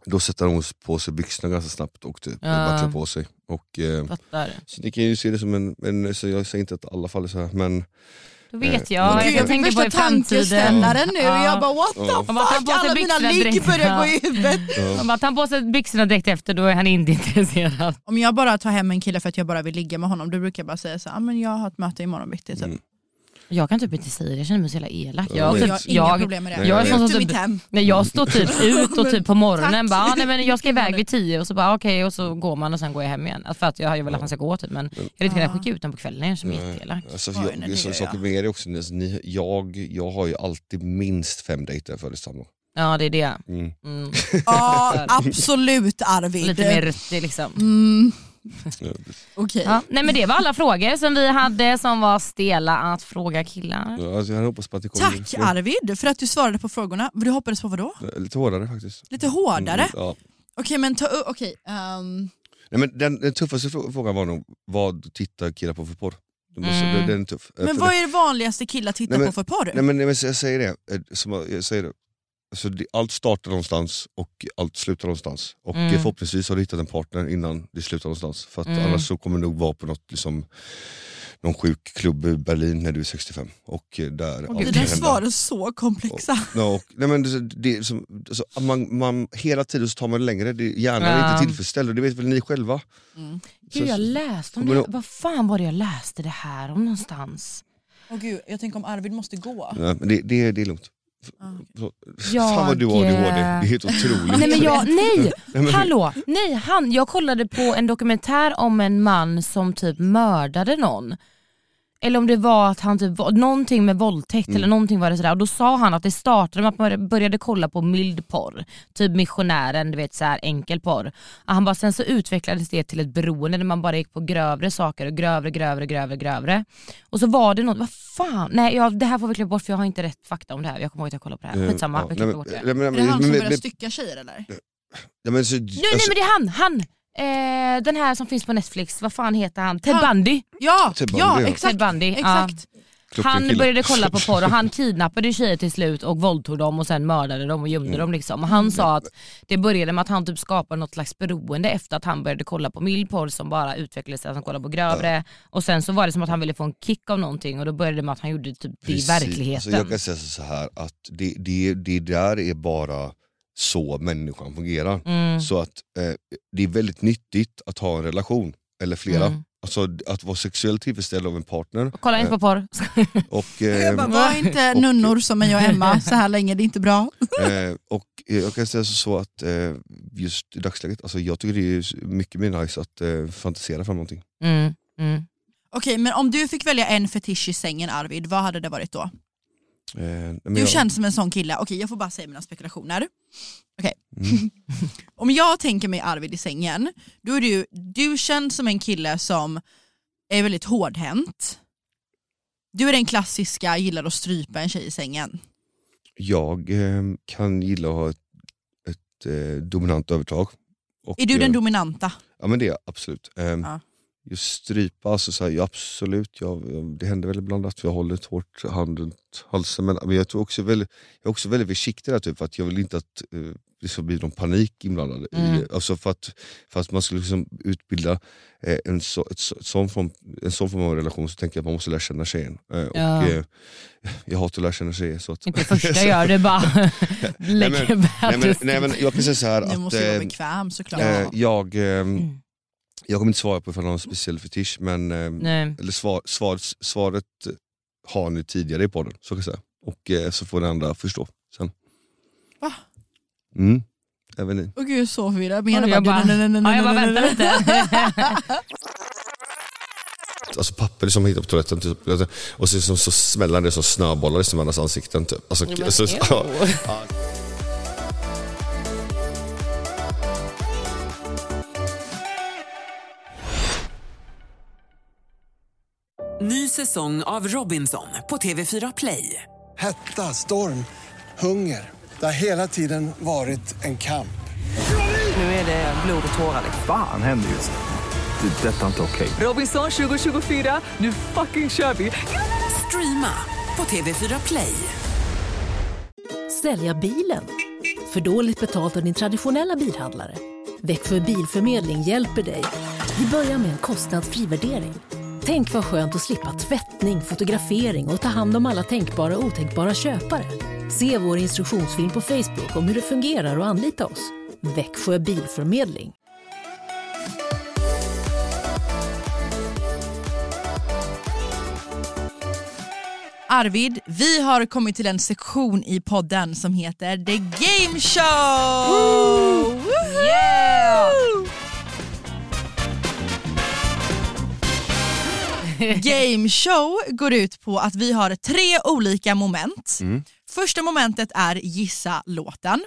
A: Då sätter hon på sig byxorna ganska snabbt och typ
B: Ja.
A: ja. på sig. Och, eh,
B: Fattar.
A: så ni kan ju se det som en, en så jag säger inte att alla fall är så här, men
B: Då vet
A: Eh,
B: jag,
A: men-
B: jag,
A: Gud, jag
B: tänker på i framtiden.
C: tankeställaren nu.
B: Ja.
C: Jag bara what the
A: Ja.
C: fuck,
B: Man bara tar på sig
C: alla mina
B: byxorna
C: ligg
B: direkt.
C: börjar
B: Ja.
C: gå i huvudet.
A: ja.
B: Om att han på sig byxorna direkt efter då är han inte intresserad.
C: Om jag bara tar hem en kille för att jag bara vill ligga med honom, då brukar jag bara säga så här, "Ah, men jag har ett möte imorgon bitti. Typ.
A: Mm.
B: Jag kan typ inte säga det, jag känner mig så jävla elak.
A: Ja,
B: Jag,
A: men
C: Jag
B: typ,
C: har inga
B: jag,
C: problem med det.
A: Nej, jag är
B: sån
C: Ut
B: som
C: ur
B: typ-
C: mitt hem.
B: när jag står typ ut och typ på morgonen
C: Tack.
B: bara, "Ah, nej, men jag ska iväg
C: Ja,
B: vid tio och så bara okej och så går man och sen går jag hem igen. Alltså, För att jag har ju velat att han ska gå typ men jag hade inte kunnat
C: Ja.
B: skicka ut honom på kvällen, jag känner mig
A: Nej.
B: jätteelak.
A: Alltså,
C: Oj, nej,
A: jag,
C: det
A: så,
C: gör
A: saker
C: jag.
A: med det också, alltså, ni, jag, jag har ju alltid minst fem dejter före samlag.
B: Ja det är det.
A: Mm.
B: Mm.
C: Ja, absolut Arvid.
B: Lite mer ruttig liksom.
C: Mm,
A: Ja,
C: Okej.
B: Ja, nej men det var alla frågor som vi hade som var stela att fråga killar.
A: Alltså, jag hade hoppats på att det kommer
C: Tack Arvid för att du svarade på frågorna. Du hoppades på vadå?
A: Lite hårdare faktiskt.
C: Lite hårdare?
A: Mm, ja.
C: Okej, men ta upp... Okej. ehm,
A: Nej, men den, den tuffaste frå- frågan var nog, vad tittar killar på för porr? Det måste,
B: Mm.
A: den, den är tuff. Eh,
C: men
A: för
C: vad är det vanligaste killar tittar
A: Nej, men-
C: på för porr?
A: Nej men, nej, men jag säger det, Eh, som jag jag säger det. Alltså, det allt startar någonstans och allt slutar någonstans. Och
B: Mm.
A: eh, förhoppningsvis har du hittat en partner innan det slutar någonstans. För att
B: Mm.
A: annars så kommer du nog vara på något, liksom, någon sjuk klubb i Berlin när du är 65. Och eh, där allt
C: Dina
A: kan hända.
C: svar är så komplexa.
A: Ja, och, nej men det, det, är som, alltså, att man, man, hela tiden så tar man det längre, det, hjärnan
B: Ja.
A: är inte tillförställd och det vet väl ni själva?
B: Gud jag läste om
A: Men
B: det,
A: då-
B: vad fan var det jag läste det här om någonstans?
C: Åh gud, jag tänker om Arvid måste gå.
A: Nej, men det, det, det är lugnt.
C: Ah,
A: Så-
B: Jag,
A: Fan vad du har
B: eh,
A: ADHD, det är helt otroligt.
B: Nej, men jag, nej.
A: Nej, men-
B: Hallå, nej han, jag kollade på en dokumentär om en man som typ mördade någon. Eller om det var att han typ, var- någonting med våldtäkt
A: Mm.
B: eller någonting var det sådär. Och då sa han att det startade med att man började kolla på mild porr. Typ missionären, du vet såhär enkel porr. Och han bara, sen så utvecklades det till ett beroende där man bara gick på grövre saker och grövre, grövre, grövre, grövre. Och så var det något, vad fan, nej jag, det här får vi klippa bort för jag har inte rätt fakta om det här. Jag kommer ihåg att jag kollade på det här. Skitsamma, vi
A: Eh, Ja, nej,
B: klipper
A: men-
B: bort det.
A: nej, men-
C: Är det han som
A: men-
C: börjar
A: men-
C: stycka tjejer eller?
A: Nej, men, så,
B: Nu,
A: Alltså-
B: nej men det är han, han! Eh, den här som finns på Netflix, vad fan heter han? Ted
C: Han-
B: Bundy.
C: Ja,
A: Typ
C: ja
A: Arvid, ja.
C: exakt.
B: Ted Bundy.
C: exakt.
B: Ja.
A: Klockren
B: Han
A: kille.
B: började kolla på porr och han kidnappade tjejer till slut och våldtog dem och sen mördade dem och gömde
A: Mm.
B: dem. Liksom. Och han sa att det började med att han typ skapade något slags beroende efter att han började kolla på mild porr som bara utvecklades till att han kollade på grövre. Och sen så var det som att han ville få en kick av någonting och då började det med att han gjorde typ det i
A: Precis.
B: verkligheten.
A: Alltså, jag kan säga så här att det, det, det där är bara så människan fungerar.
B: Mm.
A: Så att eh, det är väldigt nyttigt att ha en relation, eller flera.
B: Mm.
A: Alltså att vara sexuellt tillfredsställd av en partner.
B: Kolla inte på porr.
A: Och,
C: Jag
A: eh,
C: bara, var inte nunnor som mig och Emma så här länge, det är inte bra.
A: Eh, och eh, jag kan säga så- så att eh, just i dagsläget, alltså jag tycker det är s- mycket mer nice att eh, fantisera fram någonting.
B: Mm. Mm.
C: Okej, men om du fick välja en fetisch i sängen Arvid, vad hade det varit då?
A: Eh, nej, men
C: Du
A: jag,
C: känns som en sån kille. Okej, jag får bara säga mina spekulationer. Okej.
A: Mm.
C: Om jag tänker mig Arvid i sängen, då är du, du känns som en kille som är väldigt hårdhänt. Du är den klassiska, gillar att strypa en tjej i sängen.
A: jag eh, kan gilla att ha ett, ett eh, dominant övertag. Och,
C: Är du den
A: eh,
C: dominanta?
A: Ja men det är jag absolut. Eh,
C: Ja.
A: Just strypa, alltså, så här, ja, absolut. Jag, jag- det händer väl ibland att jag håller ett hårt hand runt halsen. Men, men jag, tror också väldigt, jag är också väldigt försiktig där, typ, för att jag vill inte att eh, det ska bli någon panik inblandad. I,
B: Mm.
A: alltså för, att, för att man skulle liksom utbilda eh, en, så, ett, så- ett sån form, en sån form av relation så tänker jag att man måste lära känna tjejen. Eh, och,
B: Ja.
A: eh, jag hatar att lära känna tjejer. Så att,
B: Inte första gör du bara lägger
A: men- nej, men,
B: bebis.
A: nej, men, jag kan säga så här
C: Du
A: att...
C: måste ju vara
A: eh,
C: bekväm såklart.
A: Eh, jag, ehm, jag kommer inte svara på ifall han har en speciell fetisch, men ehm,
B: Nej.
A: eller svar, svar, svaret har ni tidigare i podden. Så kan jag säga. Och eh, så får den andra förstå sen.
C: Va?
A: Mm. Även ni.
C: Åh gud, jag är så förvirrad. Men jag
B: jag
C: bara,
B: bara,
C: nej, nej, nej,
B: ja,
C: nej,
B: jag bara
C: nej,
B: vänta
C: nej.
B: lite.
A: Alltså papper som man hittar på toaletten typ, och så, så, så smäller det som snöbollar i varandras ansikten. Typ. Alltså, alltså, ja.
E: Ny säsong av Robinson på TV4 Play.
F: Hetta, storm, hunger. Det har hela tiden varit en kamp.
E: Nu är det blod och tårar. liksom.
G: Fan händer just nu. Det. är Detta är inte okej.
E: Robinson 2024, nu fucking kör vi! Streama på TV4 Play.
H: Sälja bilen? För dåligt betalt av din traditionella bilhandlare? Växjö Bilförmedling hjälper dig. Vi börjar med en kostnadsfri värdering. Tänk vad skönt att slippa tvättning, fotografering och ta hand om alla tänkbara och otänkbara köpare. Se vår instruktionsfilm på Facebook om hur det fungerar och anlita oss. Växjö Bilförmedling.
C: Arvid, vi har kommit till en sektion i podden som heter The Game Show! Woho! Game Show går ut på att vi har tre olika moment.
A: Mm.
C: Första momentet är gissa låten.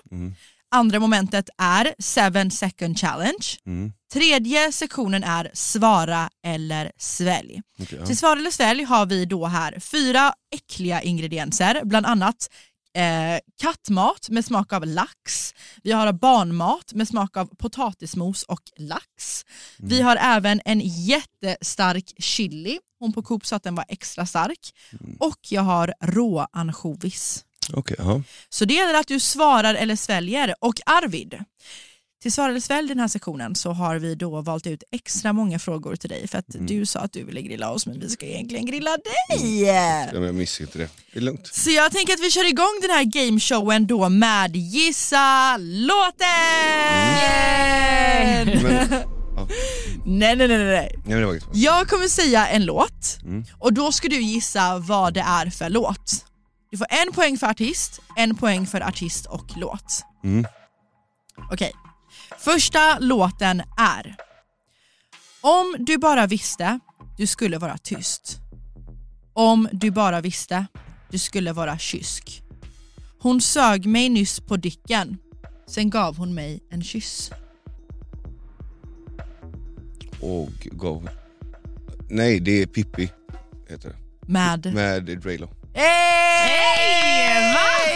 C: Andra momentet är seven second challenge. Tredje sektionen är svara eller svälj. Till svar eller svälj har vi då här fyra äckliga ingredienser, bland annat eh, kattmat med smak av lax. Vi har barnmat med smak av potatismos och lax. Vi har även en jättestark chili. Hon på Coop sa att den var extra stark. Och jag har rå ansjovis.
A: Okej, ja.
C: Så det gäller att du svarar eller sväljer. Och Arvid, till svar eller svälj den här sektionen så har vi då valt ut extra många frågor till dig för att du sa att du ville grilla oss men vi ska egentligen grilla dig.
A: Ja, men Jag missar inte det. Det är lugnt.
C: Så jag tänker att vi kör igång den här gameshowen då med Gissa låten!
A: Men,
C: Nej, nej, nej, nej.
A: nej, men det var inget.
C: Jag kommer säga en låt och då ska du gissa vad det är för låt. Du får en poäng för artist, en poäng för artist och låt.
A: Mm.
C: Okej. Första låten är Om du bara visste, du skulle vara tyst. Om du bara visste, du skulle vara kysk. Hon sög mig nyss på dicken, sen gav hon mig en kyss.
A: Och go. Nej, det är Pippi. Heter det.
C: Med...
A: Med Draylo.
C: Hey!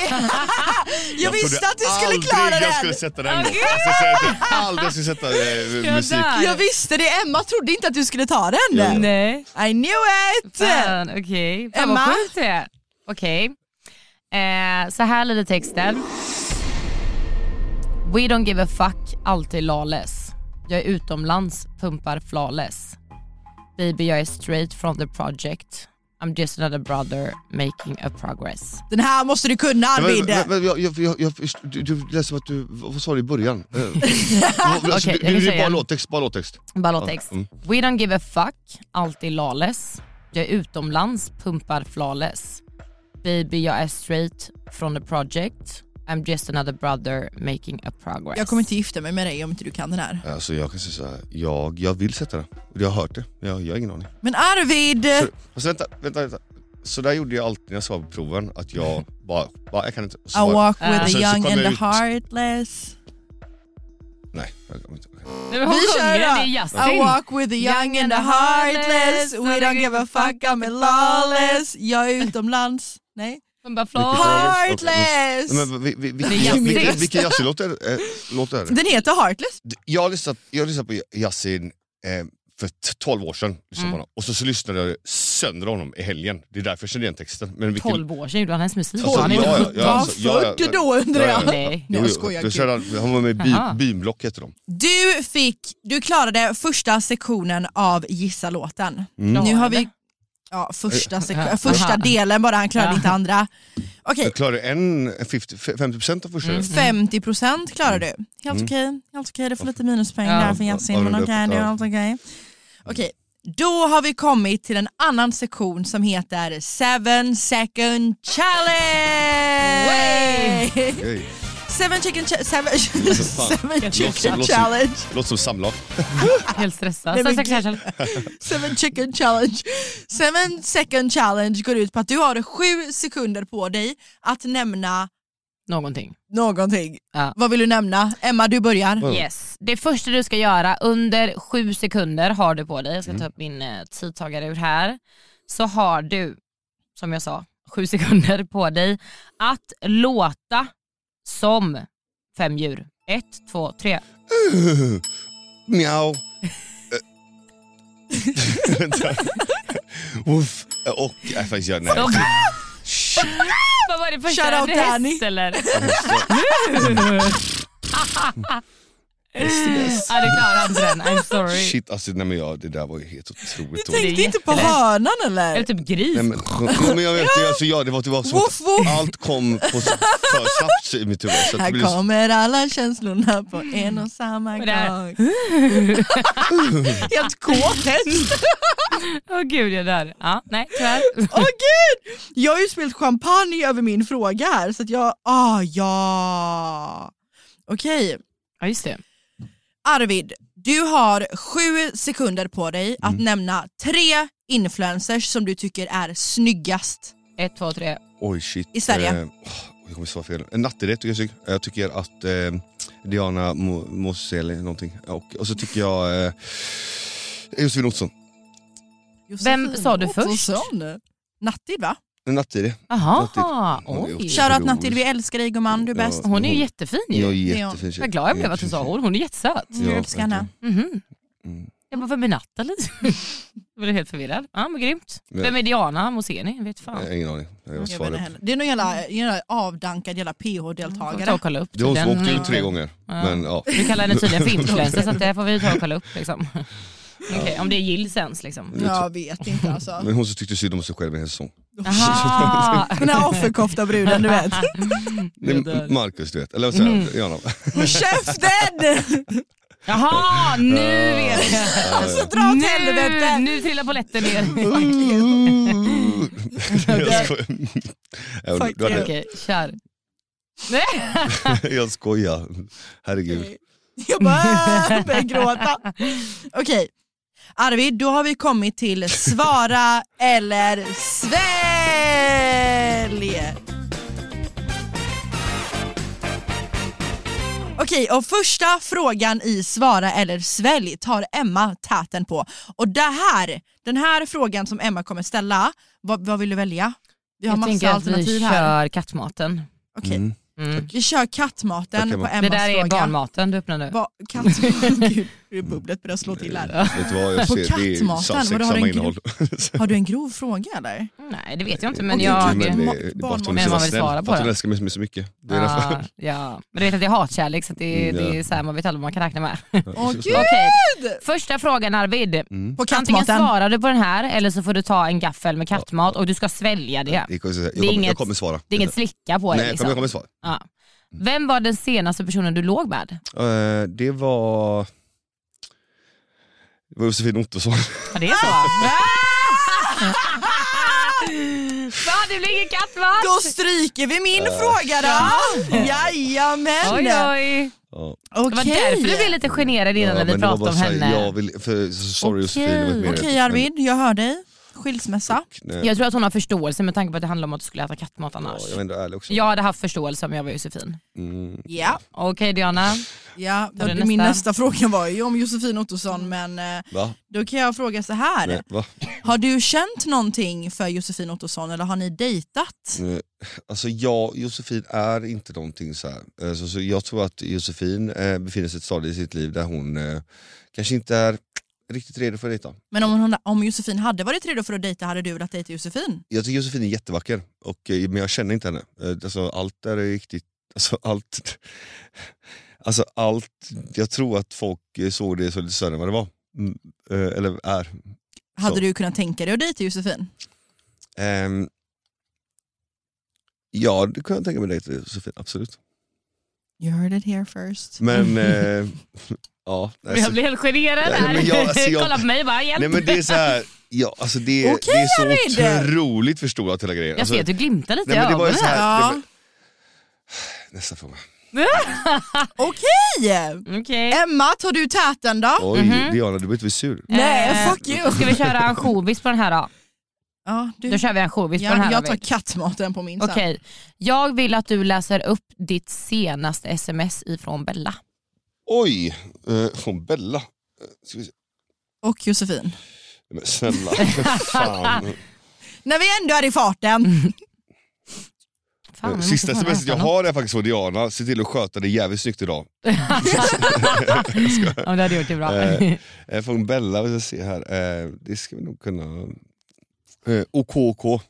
C: jag visste att du skulle klara
A: jag
C: den!
A: skulle sätta den. Alltså, så jag aldrig skulle sätta eh, musik.
C: Jag visste det, Emma trodde inte att du skulle ta den.
B: Nej.
C: I knew it!
B: Fan, okej. Fan
C: Emma?
B: vad sjukt det är. Okej. Eh, så här lyder texten. We don't give a fuck, alltid lawless. Jag är utomlands, pumpar flawless. Baby jag är straight from the project. I'm just another brother making a progress.
C: Den här måste du kunna
A: Nej, men-
C: Arvid!
A: men- men jag- jag- jag- jag först- Du du lät som att du, vad sa du i början? Eh, alltså,
B: Okej,
A: du-
B: jag
A: du-
B: kan
A: det är
B: säga.
A: bara låttext, bara låttext.
B: Balotex.
A: Ja, mm.
B: We don't give a fuck, alltid lawless. Jag är utomlands, pumpar flawless. Baby jag är straight från the project. I'm just another brother making a progress.
C: Jag kommer inte gifta mig med dig om inte du kan den här.
A: Alltså jag kan säga såhär, jag, jag vill sätta den. Jag har hört det, jag, jag har ingen aning.
C: Men Arvid!
A: Så, fast vänta, vänta, vänta. Så där gjorde jag alltid när jag svarade på proven, att jag bara, bara jag kan inte. Och så
C: I
A: bara-
C: walk
B: Ah.
C: with
A: Så-
C: the
A: så
C: young
A: kom
C: and
A: jag
C: the
A: ut.
C: heartless.
A: Nej, jag kommer inte. okej.
B: Nej, men hon sjunger, det är
C: I
B: Yasin.
C: walk with the young and the heartless. We don't give a fuck, I'm lawless. Jag är utomlands. Nej.
B: Pumpar flawless.
C: Heartless!
A: Nej, Men, vi, vi, vi,
B: Det är
A: vilken vilken,
B: Yasin.
A: vilken Yasin-låt är, det? eh, låt är det?
C: Den heter Heartless.
A: D- Jag har lyssnat, jag har lyssnat på Yasin eh, för t- 12 år sedan. lyssnade
C: Mm.
A: på honom. Och så, så lyssnade jag sönder honom i helgen. Det är därför jag känner igen texten. Men vilken,
B: 12 år sedan gjorde han ens musik.
A: Alltså,
B: han är
A: ja,
B: inte
A: ja,
B: sjutton.
A: ja,
C: Var han
A: alltså, ja, ja,
C: 40
A: ja.
C: då undrar
A: Ja, ja,
C: jag?
A: ja.
B: Nej.
A: Jo,
C: jag
A: jo,
C: skojar,
A: du
C: gud.
A: ser där, Han var med i by,
B: Aha.
A: Byblock heter de.
C: Du fick, du klarade första sektionen av Gissa-låten.
A: Mm.
C: Nu har vi, ja första, sek-
B: Aha.
C: första delen bara, han klarade
B: Ja.
C: inte andra. Okej,
A: Jag klarade en, en 50, 50% av första.
B: Mm.
C: 50% klarar du. Helt
A: Mm.
C: okej, helt okej. Du får lite minuspoäng
B: Ja.
C: där för
A: Ja,
C: Yasin, men
A: det är
C: okej, det är
A: bra.
C: helt okej. Okej, då har vi kommit till en annan sektion som heter Seven second challenge!
A: Oj.
C: Seven chicken, cha- seven, seven
A: Låter-
C: chicken
A: låter-
C: challenge.
A: Låter som samlag.
B: Helt stressad.
C: Nej, men
B: Så- så- så- så-
C: Seven chicken challenge. Seven second challenge går ut på att du har sju sekunder på dig att nämna
B: Någonting.
C: någonting.
B: Ja.
C: Vad vill du nämna? Emma, du börjar.
A: Mm.
B: Yes. Det första du ska göra under sju sekunder har du på dig, jag ska ta upp min eh, tidtagare ur här, så har du, som jag sa, sju sekunder på dig att låta som fem djur. Ett, två, tre.
A: Mjau. Eh. Vänta. Woof. Eh, Och... Nej, faktiskt, jag, nej.
B: Stopp. Vad var det första?
C: Shout out
B: En häst,
C: Danny.
B: eller?
A: Häst är bäst.
B: Ja det klarade inte den, I'm sorry.
A: Shit, alltså, nej, men jag, det där var ju helt otroligt
C: Du
A: dåligt.
C: tänkte inte på
B: jättelätt.
C: hörnan
B: Eller
C: eller?
B: typ gris.
A: Nej, men, jo, men jag vet, det, alltså, ja, det var, det var som
C: Woof, woof.
A: att allt kom på, s- för snabbt i mitt huvud. Så att det
C: Här
A: blev så-
C: kommer alla känslorna på en och samma
B: Och där.
C: gång. Helt kåt häst.
B: Åh gud jag dör. Ja, nej tyvärr.
C: Åh gud! Jag har ju spilt champagne över min fråga här så att jag, ah ja. Okej.
B: Ja just det.
C: Arvid, du har sju sekunder på dig att
A: Mm.
C: nämna tre influencers som du tycker är snyggast.
B: Ett, två, tre.
A: Oj shit.
C: I Sverige.
A: Eh, åh, jag kommer svara fel. En nattirätt tycker jag är snygg. Jag tycker att eh, Diana Mo- Moseli någonting. Och, och så tycker jag eh, Josefin Ottosson.
B: Vem sa du först?
C: Ottosson. Nattil va?
A: En nattirätt.
B: Jaha,
A: Hon är
B: oj.
A: otrolig.
C: Shoutout Nattil, vi älskar dig gumman, du är
A: Ja.
C: bäst.
B: Hon är ju jättefin
A: Jag är
B: ju.
A: jättefin tjej.
B: Vad glad jag blev att du sa hon, hon är jättesöt.
C: Jag Mm, älskar henne.
B: Mhm.
A: Mm.
B: Jag bara, vem är Nathalie? Jag blev helt förvirrad. Ja men grymt. Vem är Diana Moseni? Jag Vet fan.
A: Jag har ingen aning. Jag har
C: Jag vet inte
A: svaret.
C: heller. Det är någon jävla, jävla avdankad jävla
B: Får ta
C: PH-deltagare.
B: och kolla upp.
A: Det är hon som
B: Den-
A: åkte ut tre gånger. Men ja.
B: Du kallar henne tydligen för influencer så att det här får vi ta och kolla upp liksom. Okej, om det är gills ens liksom.
C: Jag vet inte alltså.
A: Men hon som tyckte synd om sig själv i en hel säsong.
B: Aha.
C: Den här offerkofta-bruden du vet.
A: Det är
B: Jag dör.
A: Marcus du vet. Eller vad säger jag? Diana.
C: Håll käften!
B: Jaha, nu vet jag.
C: Alltså dra åt
B: Nu,
C: helvete.
B: nu trillar polletten ner.
A: jag skojar. Ja,
C: Fuck
A: du hade-
C: you.
B: Okej, kör. Nej.
A: Jag skojar. Herregud.
C: Jag bara börjar gråta. Okej, Arvid, då har vi kommit till svara eller svälj. Okej, och första frågan i svara eller svälj tar Emma täten på. Och det här, den här frågan som Emma kommer ställa, vad, vad vill du välja? Vi har
B: Jag tänker
C: massa
B: att vi
C: alternativ här.
B: kör kattmaten.
C: Okej,
A: Mm.
B: Mm.
C: vi kör kattmaten
A: Tack, Emma.
C: på Emmas
B: Det där är
C: fråga.
B: barnmaten du öppnar nu.
C: Ba- katt- Gud. hur bubblet börjar slå till här.
A: Vet du vad jag
C: På
A: ser? Det är
C: kattmaten,
A: samma,
C: vadå, har, du
A: samma
C: en grov,
A: innehåll.
C: har du en grov fråga eller?
B: Nej det vet jag inte men
C: Okej,
B: jag...
C: kul,
A: Men eh, det
C: Barnmat-
A: är bara att hon
B: Men
A: är så
B: man
A: snäll.
B: vill
A: För
B: svara
A: att
B: på
A: hon
B: det.
A: älskar mig så mycket. Det är
B: Ja,
A: därför.
B: ja. Men du vet att det är hatkärlek så att det,
A: Mm,
B: det
A: ja.
B: är så här, man vet aldrig vad man kan räkna med.
C: Åh gud!
B: Okej, första frågan Arvid.
A: Mm.
C: På
B: Antingen
C: kattmaten.
B: svarar du på den här eller så får du ta en gaffel med kattmat och du ska svälja det.
A: Det kommer- Jag
B: Det är
A: kommer, jag
B: inget-
A: kommer svara.
B: Det är inget slicka på det
A: Nej, jag kommer, jag
B: liksom.
A: kommer svara.
B: Ja. Vem var den senaste personen du låg med?
A: Eh, det var... Det var Josefin Ottosson.
B: Ja, det är så. Fan det blir ingen kattmat!
C: Då stryker vi min fråga då! Jajamän!
B: Oj oj.
A: Ja.
B: Det var därför du blev lite generad innan när
A: men
B: vi
A: det var bara
B: pratade om
A: så här,
B: henne.
A: Jag vill, för, sorry Josefin, det var inte meningen.
C: Okej
A: Men-
C: Arvid, jag hör dig. Skilsmässa.
A: Nej,
B: Jag tror att hon har förståelse med tanke på att det handlar om att du skulle äta kattmat
A: ja,
B: annars.
A: jag var ändå ärlig också.
B: Jag hade haft förståelse om jag var Josefin.
A: Mm.
C: Ja,
B: Okej Diana.
C: ja
B: Tar du
C: då- min
B: nästa?
C: nästa fråga var ju om Josefin Ottosson men eh,
A: Va?
C: då kan jag fråga så här.
A: Nej, va?
C: Har du känt någonting för Josefin Ottosson eller har ni dejtat?
A: Nej. Alltså jag, Josefin är inte någonting så här. Eh, Så, så jag tror att Josefin eh, befinner sig i ett stadie i sitt liv där hon eh, kanske inte är riktigt redo för att dejta.
C: Men om, hon, om Josefin hade varit redo för att dejta hade du velat dejta Josefin?
A: Jag tycker Josefin är jättevacker, och, eh, men jag känner inte henne. Eh, Alltså, allt är riktigt... Alltså, allt, alltså, allt... Jag tror att folk eh, såg det så lite större än vad det var. Mm, eh, Eller är.
C: Hade
A: Så.
C: du kunnat tänka dig att dejta Josefin?
A: Ehm, ja, det kan jag tänka mig dig till Josefin, absolut.
C: You heard it here first.
A: Men... eh, ja, alltså,
B: Jag blir helt generad
A: Nej,
B: här.
A: men jag- alltså, jag-
B: Kolla på mig bara, hjälp.
A: nej, men det är så här... Ja, alltså det, är-
C: Okej,
A: det är så
C: Arvid!
A: otroligt förstorat hela grejen. Alltså,
B: Jag ser att du glimtar lite
A: nej,
B: i
A: men det var ju
B: ögonen.
A: så här,
C: Ja.
A: nej, men, nästa fråga.
C: Okej!
B: Okej.
C: Emma, tar du täten då?
A: Oj, Diana
B: Mhm.
A: du börjar inte bli sur.
C: Nej,
B: Eh,
C: fuck you!
B: Ska vi köra ansjovis på den här då?
C: Ja, du,
B: Då kör vi ansjovis på den
C: ja,
B: här
C: jag tar
B: Arvid.
C: kattmaten på min sen.
B: Okej, jag vill att du läser upp ditt senaste sms ifrån Bella.
A: Oj, eh, från Bella. Eh, Ska vi se.
C: Och Josefin.
A: Men snälla, fan.
C: När vi ändå är i farten.
B: Mm. Fan, vi måste
A: Eh, Sista
B: fan
A: smset
B: äta
A: jag
B: något.
A: har är faktiskt från Diana, se till att sköta det jävligt snyggt idag.
B: Ja, men det hade gjort det bra.
A: Eh, Eh, Från Bella, vi ska se här. Eh, Det ska vi nog kunna... Eh, OKK.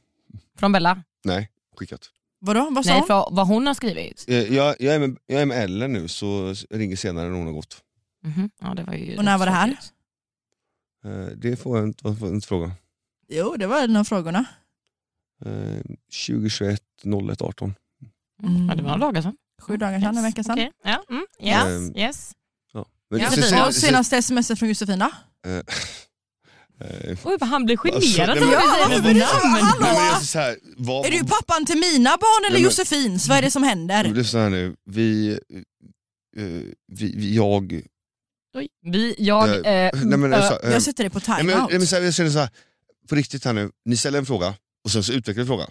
B: Från Bella?
A: Nej, skickat.
C: Vadå, vad sa
B: Nej,
C: hon?
B: från vad hon har skrivit.
A: Eh, Jag, jag, är med, jag är med Ellen nu, så ringer senare när hon har gått.
B: Mhm. Ja, det var ju
C: Och när
B: rätt
C: var det här?
B: tråkigt.
A: Eh, Det får jag inte, vad får jag inte fråga.
C: Jo, det var en av frågorna.
A: Eh, 2021 01 18.
B: Mm. Ja, det var några dagar sedan.
C: Sju dagar sedan, en
B: Yes.
C: vecka sedan.
B: Okej, Ja, mm. yes.
A: Ehm,
B: yes.
A: Men-
B: Ja,
A: se-
B: precis.
A: se-
C: Och
A: se-
C: senaste sms från Josefina.
A: eh,
B: Oj, vad han blir generad
A: Alltså, nej, men-
B: över att vi
A: Ja, men-
B: säger mitt namn.
A: Nej, men
C: Hallå!
A: jag, så här, vad,
C: Är du pappan till mina barn eller
A: Nej, men- Mm.
C: Josefins? Vad är det som händer?
A: Lyssna här nu, vi, eh, vi, vi jag...
B: Oj, Vi, jag,
A: Eh,
B: eh,
A: nej men,
B: ö,
A: så, eh,
C: Jag sätter dig på
A: nej, men, nej, men,
C: timeout.
A: så här, jag känner så här, på riktigt här nu, ni ställer en fråga och sen så utvecklar vi frågan.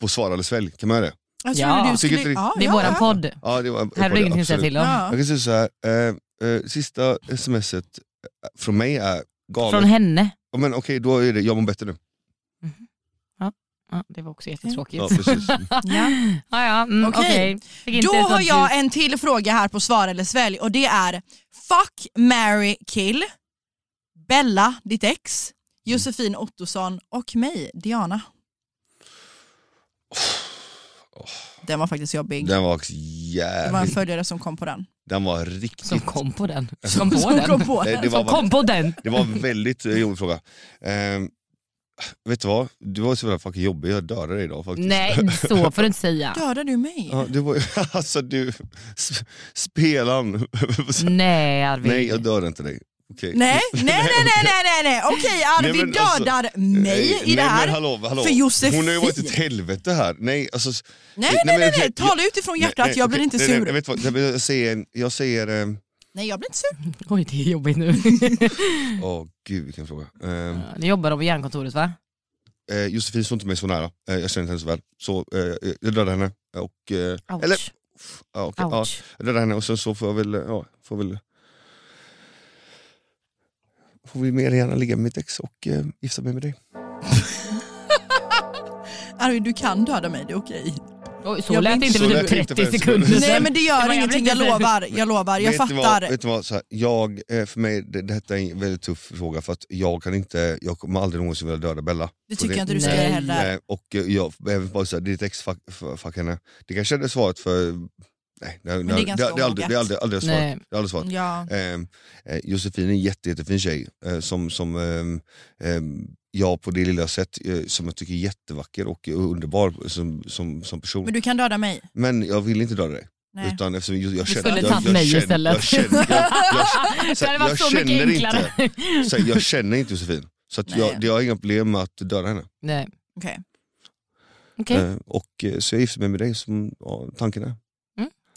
A: På svara eller svälj, kan man göra det?
C: Jag
B: Ja.
C: trodde
A: Tycker
C: du skulle...
A: inte det-
C: Ja,
B: det är
C: ja,
B: våran
C: ja.
B: podd. liksom.
A: Ja, det var,
B: Här är det ingenting att säga
A: absolut.
B: till om.
C: Ja.
A: Jag kan säga så här, eh, eh, sista smset eh, från mig är galet.
B: Från henne.
A: Ja, men, okej, då är det jag mår bättre nu.
B: Ja, det var också
A: Ja,
B: jättetråkigt.
A: precis.
C: Ja.
B: Ja, ja, mm,
C: Okej.
B: okej. Fick inte
C: Då
B: ett
C: har jag
B: ljus.
C: en till fråga här på svar eller svälj och det är Fuck, Mary kill, Bella, ditt ex, Josefin Ottosson och mig, Diana. Den var faktiskt jobbig.
A: Den var
C: Det var en
A: jävligt...
C: följare som kom på den.
A: Den var riktigt...
B: Som kom på den. Som på
C: Som
B: den.
C: kom på
A: Nej,
C: den.
A: det var,
B: Som kom på den.
A: Det var en väldigt eh, jobbig fråga. Eh, vet du vad? Du var så jävla fucking jobbig, jag dödade dig idag faktiskt.
B: Nej, så får du inte säga.
C: Dödar du mig?
A: Ja, det var, alltså du, sp- spelaren.
B: Nej Arvid.
A: Nej jag dör inte dig. Okej.
C: Nej, nej, nej, nej, nej, nej, nej. okej Arvid
A: Nej, men alltså,
C: dödar mig i
A: nej,
C: det här.
A: Men hallå, hallå.
C: För Josefin.
A: Hon har ju varit ett helvete här. Nej, alltså, s-
C: Nej,
A: Nej,
C: nej,
A: men
C: nej, nej,
A: okej,
C: tala utifrån hjärtat,
A: nej,
C: jag blir
A: okej,
C: inte
A: nej, nej,
C: sur.
A: jag, vet vad, nej, men jag säger, en- jag säger ehm,
C: Nej, jag blir inte sur.
B: Oj det är jobbigt nu.
A: åh gud vilken fråga. Ehm,
B: Ni jobbar de på Hjärnkontoret va?
A: eh, Josefin står inte mig så nära, eh, jag känner inte henne så väl. Så eh, jag dödar henne. Och, eh,
B: Ouch.
A: eller, ja, okej, ja,
B: Ouch.
A: jag dödar henne och sen så får jag väl, eh, ja, får väl Får vi mer gärna ligga med mitt ex och eh, gifta mig med dig.
C: Arvid, du kan döda mig, det är okej.
B: Oj, så
C: Jag
B: lät det
C: blir
B: inte
C: inte-
A: Så
B: för
A: lät
B: typ
A: det inte
B: 30
A: för en
B: sekunder
A: sekund.
B: sedan.
C: Nej men det
B: Det
C: gör
B: var
C: ingenting, jag
B: jävligt.
C: lovar. Jag lovar, jag
A: vet ni vad-
C: fattar.
A: Vet ni vad, så här, jag, eh, för mig, det, detta är en väldigt tuff fråga för att jag kan inte, jag kommer aldrig någonsin vilja döda Bella.
C: Det
A: Så
C: tycker jag inte du ska
B: Nej.
C: göra heller.
A: Eh, Och eh, jag, även bara såhär, ditt ex, fuck, fuck henne. Det kanske är det svaret för... Nej, det, det,
C: det är
A: det, det,
C: ganska
A: det, är aldrig, det är
C: vågat.
A: aldrig, aldrig svaret.
B: Nej.
A: Det är aldrig svaret.
C: Ja.
A: Ehm, eh, Josefin är en jätte, jättefin tjej eh, som, som ehm, ehm, jag på det lilla sätt eh, som jag tycker är jättevacker och underbar som, som, som person.
C: Men
A: Men,
C: du kan döda mig.
A: jag vill inte döda dig.
C: Nej.
A: Utan eftersom jag, jag
B: skulle
A: känner, jag,
B: tagit
A: jag,
B: mig
A: känner,
B: istället.
A: jag känner, jag, jag,
B: Det hade varit
A: jag
B: så mycket
A: känner
B: enklare.
A: inte, så här, jag känner inte Josefin. Så att
C: Nej.
A: jag, jag har inga problem med att döda henne.
B: Nej.
C: Okej.
B: Okej,
A: Eh, och, eh, så jag gifte mig med dig som ja, tanken är.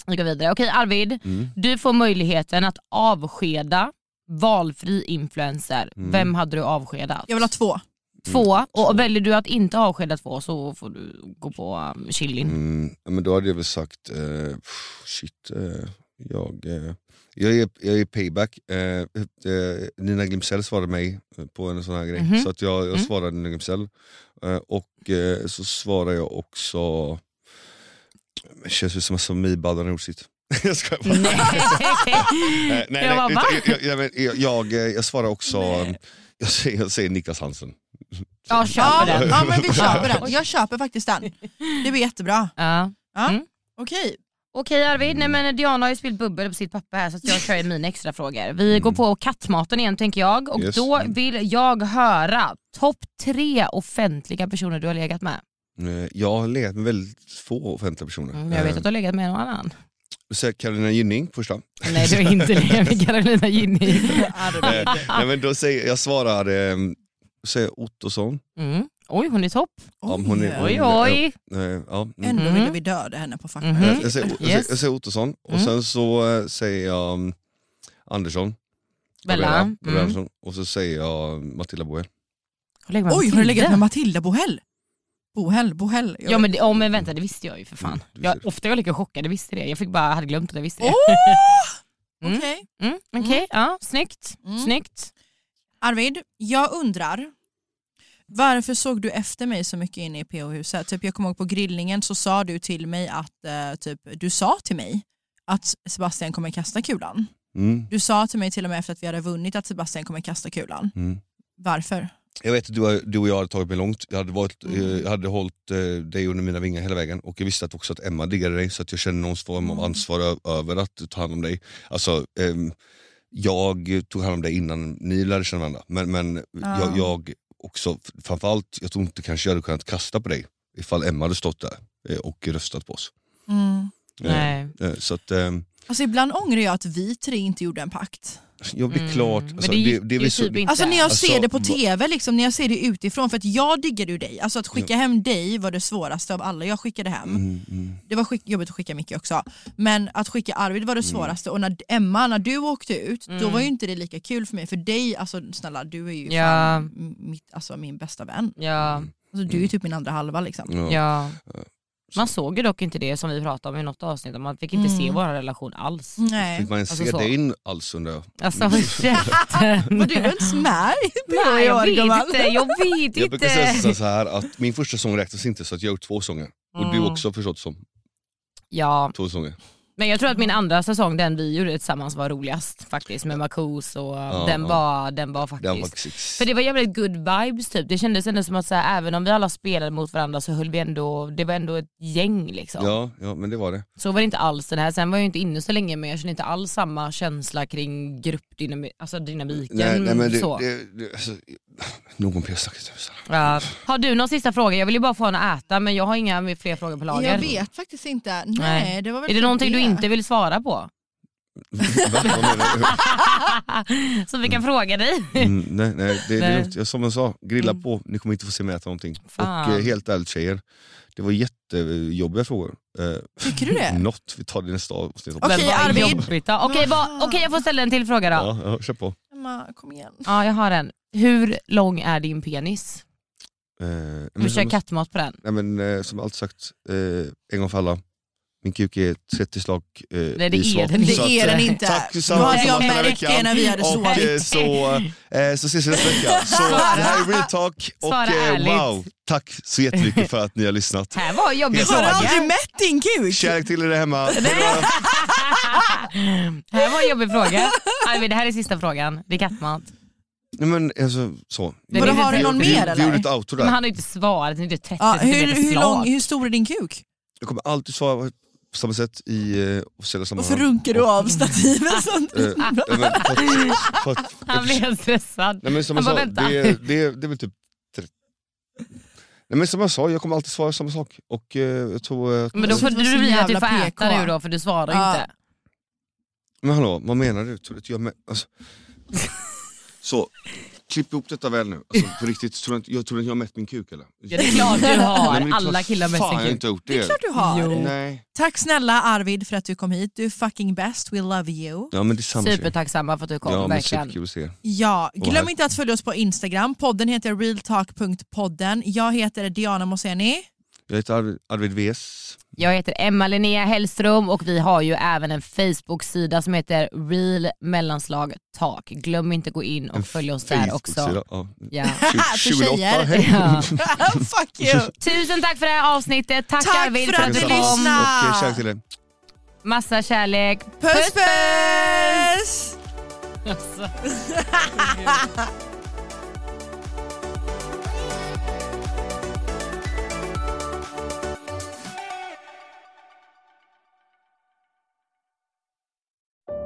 B: vi går vidare. Okej Arvid,
A: Mm.
B: du får möjligheten att avskeda valfri influencer.
A: Mm.
B: Vem hade du avskedat?
C: Jag vill ha två.
B: Två,
A: två.
B: och väljer du att inte avskeda två så får du gå på um, chillin.
A: Mm, ja, men då hade jag väl sagt, eh, pff, shit, eh, jag, eh, jag, är, jag är payback. Eh, eh, Nina Glimsell svarade mig eh, på en sån här grej,
B: Mhm.
A: så att jag, jag
B: Mm.
A: svarade Nina Glimsell. Eh, och eh, så svarade jag också, det känns väl som att Samir har gjort sitt. jag skojar bara.
B: Nej.
A: Eh, nej,
B: jag
A: nej,
B: bara, va?
A: utan jag, jag, jag, jag, jag, eh, jag svarar också, jag säger, jag säger Niklas Hansen.
B: Ja,
C: Ja,
B: kör på den.
C: ja men vi köper den. Jag köper faktiskt den. Det blir jättebra.
B: Ja.
C: Ja.
B: Mm.
C: Okej,
B: Okej Arvid, nej, men Diana har ju spillt bubbel på sitt papper här så att jag kör ju mina extra frågor. Vi går på kattmaten igen tänker jag och
A: Yes.
B: då vill jag höra topp tre offentliga personer du har legat med.
A: Eh, jag har legat med väldigt få offentliga personer. Eh,
B: Mm, jag vet att du har legat med någon annan.
A: Så Carolina Gynning första.
B: Nej du har inte legat med Carolina Ginni.
A: Eh, Nej, men då säger, jag svarar eh, säger Ottosson.
B: Mm. Oj hon är topp.
A: Ja,
C: Oj.
A: hon är-
B: Oj oj.
A: Eh, ja, mm. Mm-hmm.
C: ändå
B: Mhm.
C: ville vi döda henne på fuck
B: Mhm.
A: jag, säger, jag,
B: Yes.
A: säger, jag säger Ottosson och
B: Mm.
A: sen så eh, säger jag mm, Andersson.
B: Bella.
A: Gabriella, Gabriella
B: Mm.
A: Andersson. Och så säger jag mm, Matilda Boel.
B: Har legat med
C: Oj, har du legat
B: Matilda?
C: med Matilda Bohäll? Bohäll, Bohäll. Jag
B: Ja
C: vet-
B: men, det, oh, men vänta det visste jag ju för fan.
A: Mm, du visste
B: Jag,
A: det.
B: ofta är jag lika chockad, jag visste det. Jag fick bara, hade glömt att jag visste det.
C: Åh!
B: Mm.
C: Okej.
B: Mm, Okej, ja, snyggt.
C: Mm.
B: snyggt.
C: Arvid, jag undrar. Varför såg du efter mig så mycket inne i PH-huset? Typ, jag kommer ihåg på grillningen så sa du till mig att eh, typ, du sa till mig att Sebastian kommer kasta kulan.
A: Mm.
C: Du sa till mig till och med efter att vi hade vunnit att Sebastian kommer kasta kulan.
A: Mm.
C: Varför?
A: Jag vet att du, har- du och jag hade tagit mig långt. Jag hade, varit,
B: Mm.
A: eh, jag hade hållit eh, dig under mina vingar hela vägen. Och jag visste att också att Emma diggade dig så att jag kände någon form
B: Mm.
A: av ansvar ö- över att ta hand om dig. Alltså, ehm, jag tog hand om dig innan ni lärde känna varandra. Men, men jag, jag också, framförallt, jag tror inte kanske jag hade kunnat kasta på dig ifall Emma hade stått där eh, och röstat på oss. Eh,
B: Mm. Nej.
A: eh, Så att, ehm,
C: Alltså, ibland ångrar jag att vi tre inte gjorde en pakt.
A: jag blir klart...
B: Mm. Men
A: Alltså,
B: det gick
A: är
B: ju
A: väl så-
B: typ inte.
C: Alltså när jag
A: Alltså,
C: ser det på
A: va-
C: tv, liksom, när jag ser det utifrån, för att jag diggade ju dig. Alltså att skicka hem dig var det svåraste av alla jag skickade hem.
A: Mm, mm.
C: Det var skick- jobbigt att skicka Micke också. Men att skicka Arvid var det
A: Mm.
C: svåraste och när Emma, när du åkte ut, då var ju inte det lika kul för mig. För dig, alltså snälla du är ju
B: Mm. Ja.
C: fan m- mitt, alltså, min bästa vän.
B: Ja,
C: Alltså, du är ju
A: Mm.
C: typ min andra halva liksom.
A: Ja.
B: ja. Man såg ju dock inte det som vi pratade om i något avsnitt, man fick inte
C: Mm.
B: se vår relation alls.
C: Nej.
A: Fick man ens
B: Alltså
A: se
B: så.
A: dig in alls undrar jag?
B: Alltså håll käften.
C: Och du var inte med
B: Nej, jag vet inte, jag vet
A: Jag brukar säga
B: inte.
A: så- så här att min första sång räknas inte så att jag har gjort två sånger. Och du
B: Mm.
A: också förstått som.
B: Ja,
A: Två sånger.
B: men jag tror att min andra säsong, den vi gjorde tillsammans var roligast faktiskt med Marcus och den,
A: ja.
B: Var, den var faktiskt...
A: Den var precis.
B: För det var jävligt good vibes typ. Det kändes ändå som att så här, även om vi alla spelade mot varandra så höll vi ändå, det var ändå ett gäng liksom.
A: Ja, ja, men det var det.
B: Så var det inte alls den här. Sen var jag ju inte inne så länge men jag kände inte alls samma känsla kring gruppdynamiken. Alltså dynamiken.
A: det,
B: mm, så.
A: det, det alltså, någon PS sagt det.
B: Ja. Har du någon sista fråga? Jag vill ju bara få henne att äta men jag har inga fler frågor på lager.
C: Jag vet faktiskt inte. Nej,
B: Nej.
C: det var väl
B: Är det
C: typ
B: någonting du inte vill svara på?
A: Va? Vad menar du?
B: Så vi kan fråga dig.
A: Mm, nej, nej, det, det
B: Nej. Mm.
A: är lugnt. Jag, som jag sa, grilla på. Ni kommer inte få se mig äta någonting.
B: Fan.
A: Och eh, helt ärligt tjejer, det var jättejobbiga frågor. Eh,
C: Tycker du det?
A: Något, vi tar det i nästa avsnitt.
C: Okej,
B: Men vad
C: Arvid. Ah.
B: jobbigt då. Okej, vad- okej, jag får ställa en till fråga då. Ja.
A: Ja, ja, kör på.
C: Emma, kom igen.
B: jag har en. Hur lång är din penis?
A: Eh,
B: Om du
A: men-
B: kör kattmat på den.
A: Nej, men, eh, som jag alltid sagt, eh, en gång för alla. Min kuk är 30 slag eh,
B: det är
A: isvak.
B: den
C: Det
A: Så att,
C: är
A: eh,
C: den inte.
A: Tack
C: Då
A: tillsammans
C: hade jag
A: för den här
C: märkt det
A: veckan.
C: när vi hade
A: Och
C: sovit.
A: eh, så, eh, så ses vi nästa vecka. Så det här är Real Talk och
B: Svara
A: eh,
B: ärligt.
A: wow, Tack så jättemycket för att ni har lyssnat.
B: Här var en jobbig
A: Helt sant.
B: fråga.
A: Har du aldrig
C: mätt din kuk?
A: Kärlek till er där hemma.
B: Här var en jobbig fråga. Arvid, det här är sista frågan. Det är kattmat.
A: Nej, men alltså, så.
B: Men Vadå, har du någon
A: vi,
B: mer,
A: Vi
B: eller?
A: gjorde ett outro där.
B: Men han har ju inte svarat, han är inte 30
C: Ja, hur,
B: centimeter
C: hur,
B: slag.
C: lång, hur stor är din kuk?
A: Jag kommer alltid svara på samma sätt i eh, officiella
C: Varför
A: sammanhang.
C: runkar du av stativet? Sånt?
A: Eh, nej, men, fått- fått-
B: Han blev helt stressad.
A: Nej, men som
B: han
A: jag
B: bara
A: sa,
B: vänta.
A: det, det, det är väl typ... tre- Nej, men som jag sa, jag kommer alltid svara samma sak. Och, eh, jag tror, eh,
B: Men då får
C: Det var så
B: du bli att du
C: jävla
B: får äta
C: PK.
B: nu då för du svarar ju
C: Ja.
B: inte.
A: men hallå, vad menar du? Tror du att jag med, alltså. Så, klipp ihop detta väl nu. Alltså, på riktigt, tror du inte, jag tror inte jag har mätt min kuk eller?
B: Ja, det är klart du
A: Nej,
B: har.
A: men det är
B: Alla
A: klart
B: killar med
A: Fan, jag har
B: sin kuk.
A: inte gjort det.
C: Det är klart du har.
A: Nej.
C: Tack snälla Arvid för att du kom hit. Du är fucking bäst, we love you.
A: Ja, men det är samma tjej.
B: Supertacksamma för att du kom
A: Ja, men
B: verkligen.
A: superkul att se er.
C: Ja,
A: Och
C: glöm
A: här-
C: inte att följa oss på Instagram. Podden heter realtalk.podden. Jag heter Diana Moseni.
A: Jag heter Arvid- Arvid Ves.
B: Jag heter Emma Linnea Hellström och vi har ju även en Facebook-sida som heter Real Mellanslag Tak. Glöm inte gå in och följ oss där också.
A: Facebook-sida, Ja.
B: Ja.
C: För tjejer.
A: hej.
B: Ja.
C: Fuck you!
B: Tusen tack för det här avsnittet. Tack,
C: Tack
B: Arvid
C: för att
A: du
B: kom.
C: lyssnade.
A: Och eh, kärlek till er.
B: Massa kärlek.
C: Puss puss!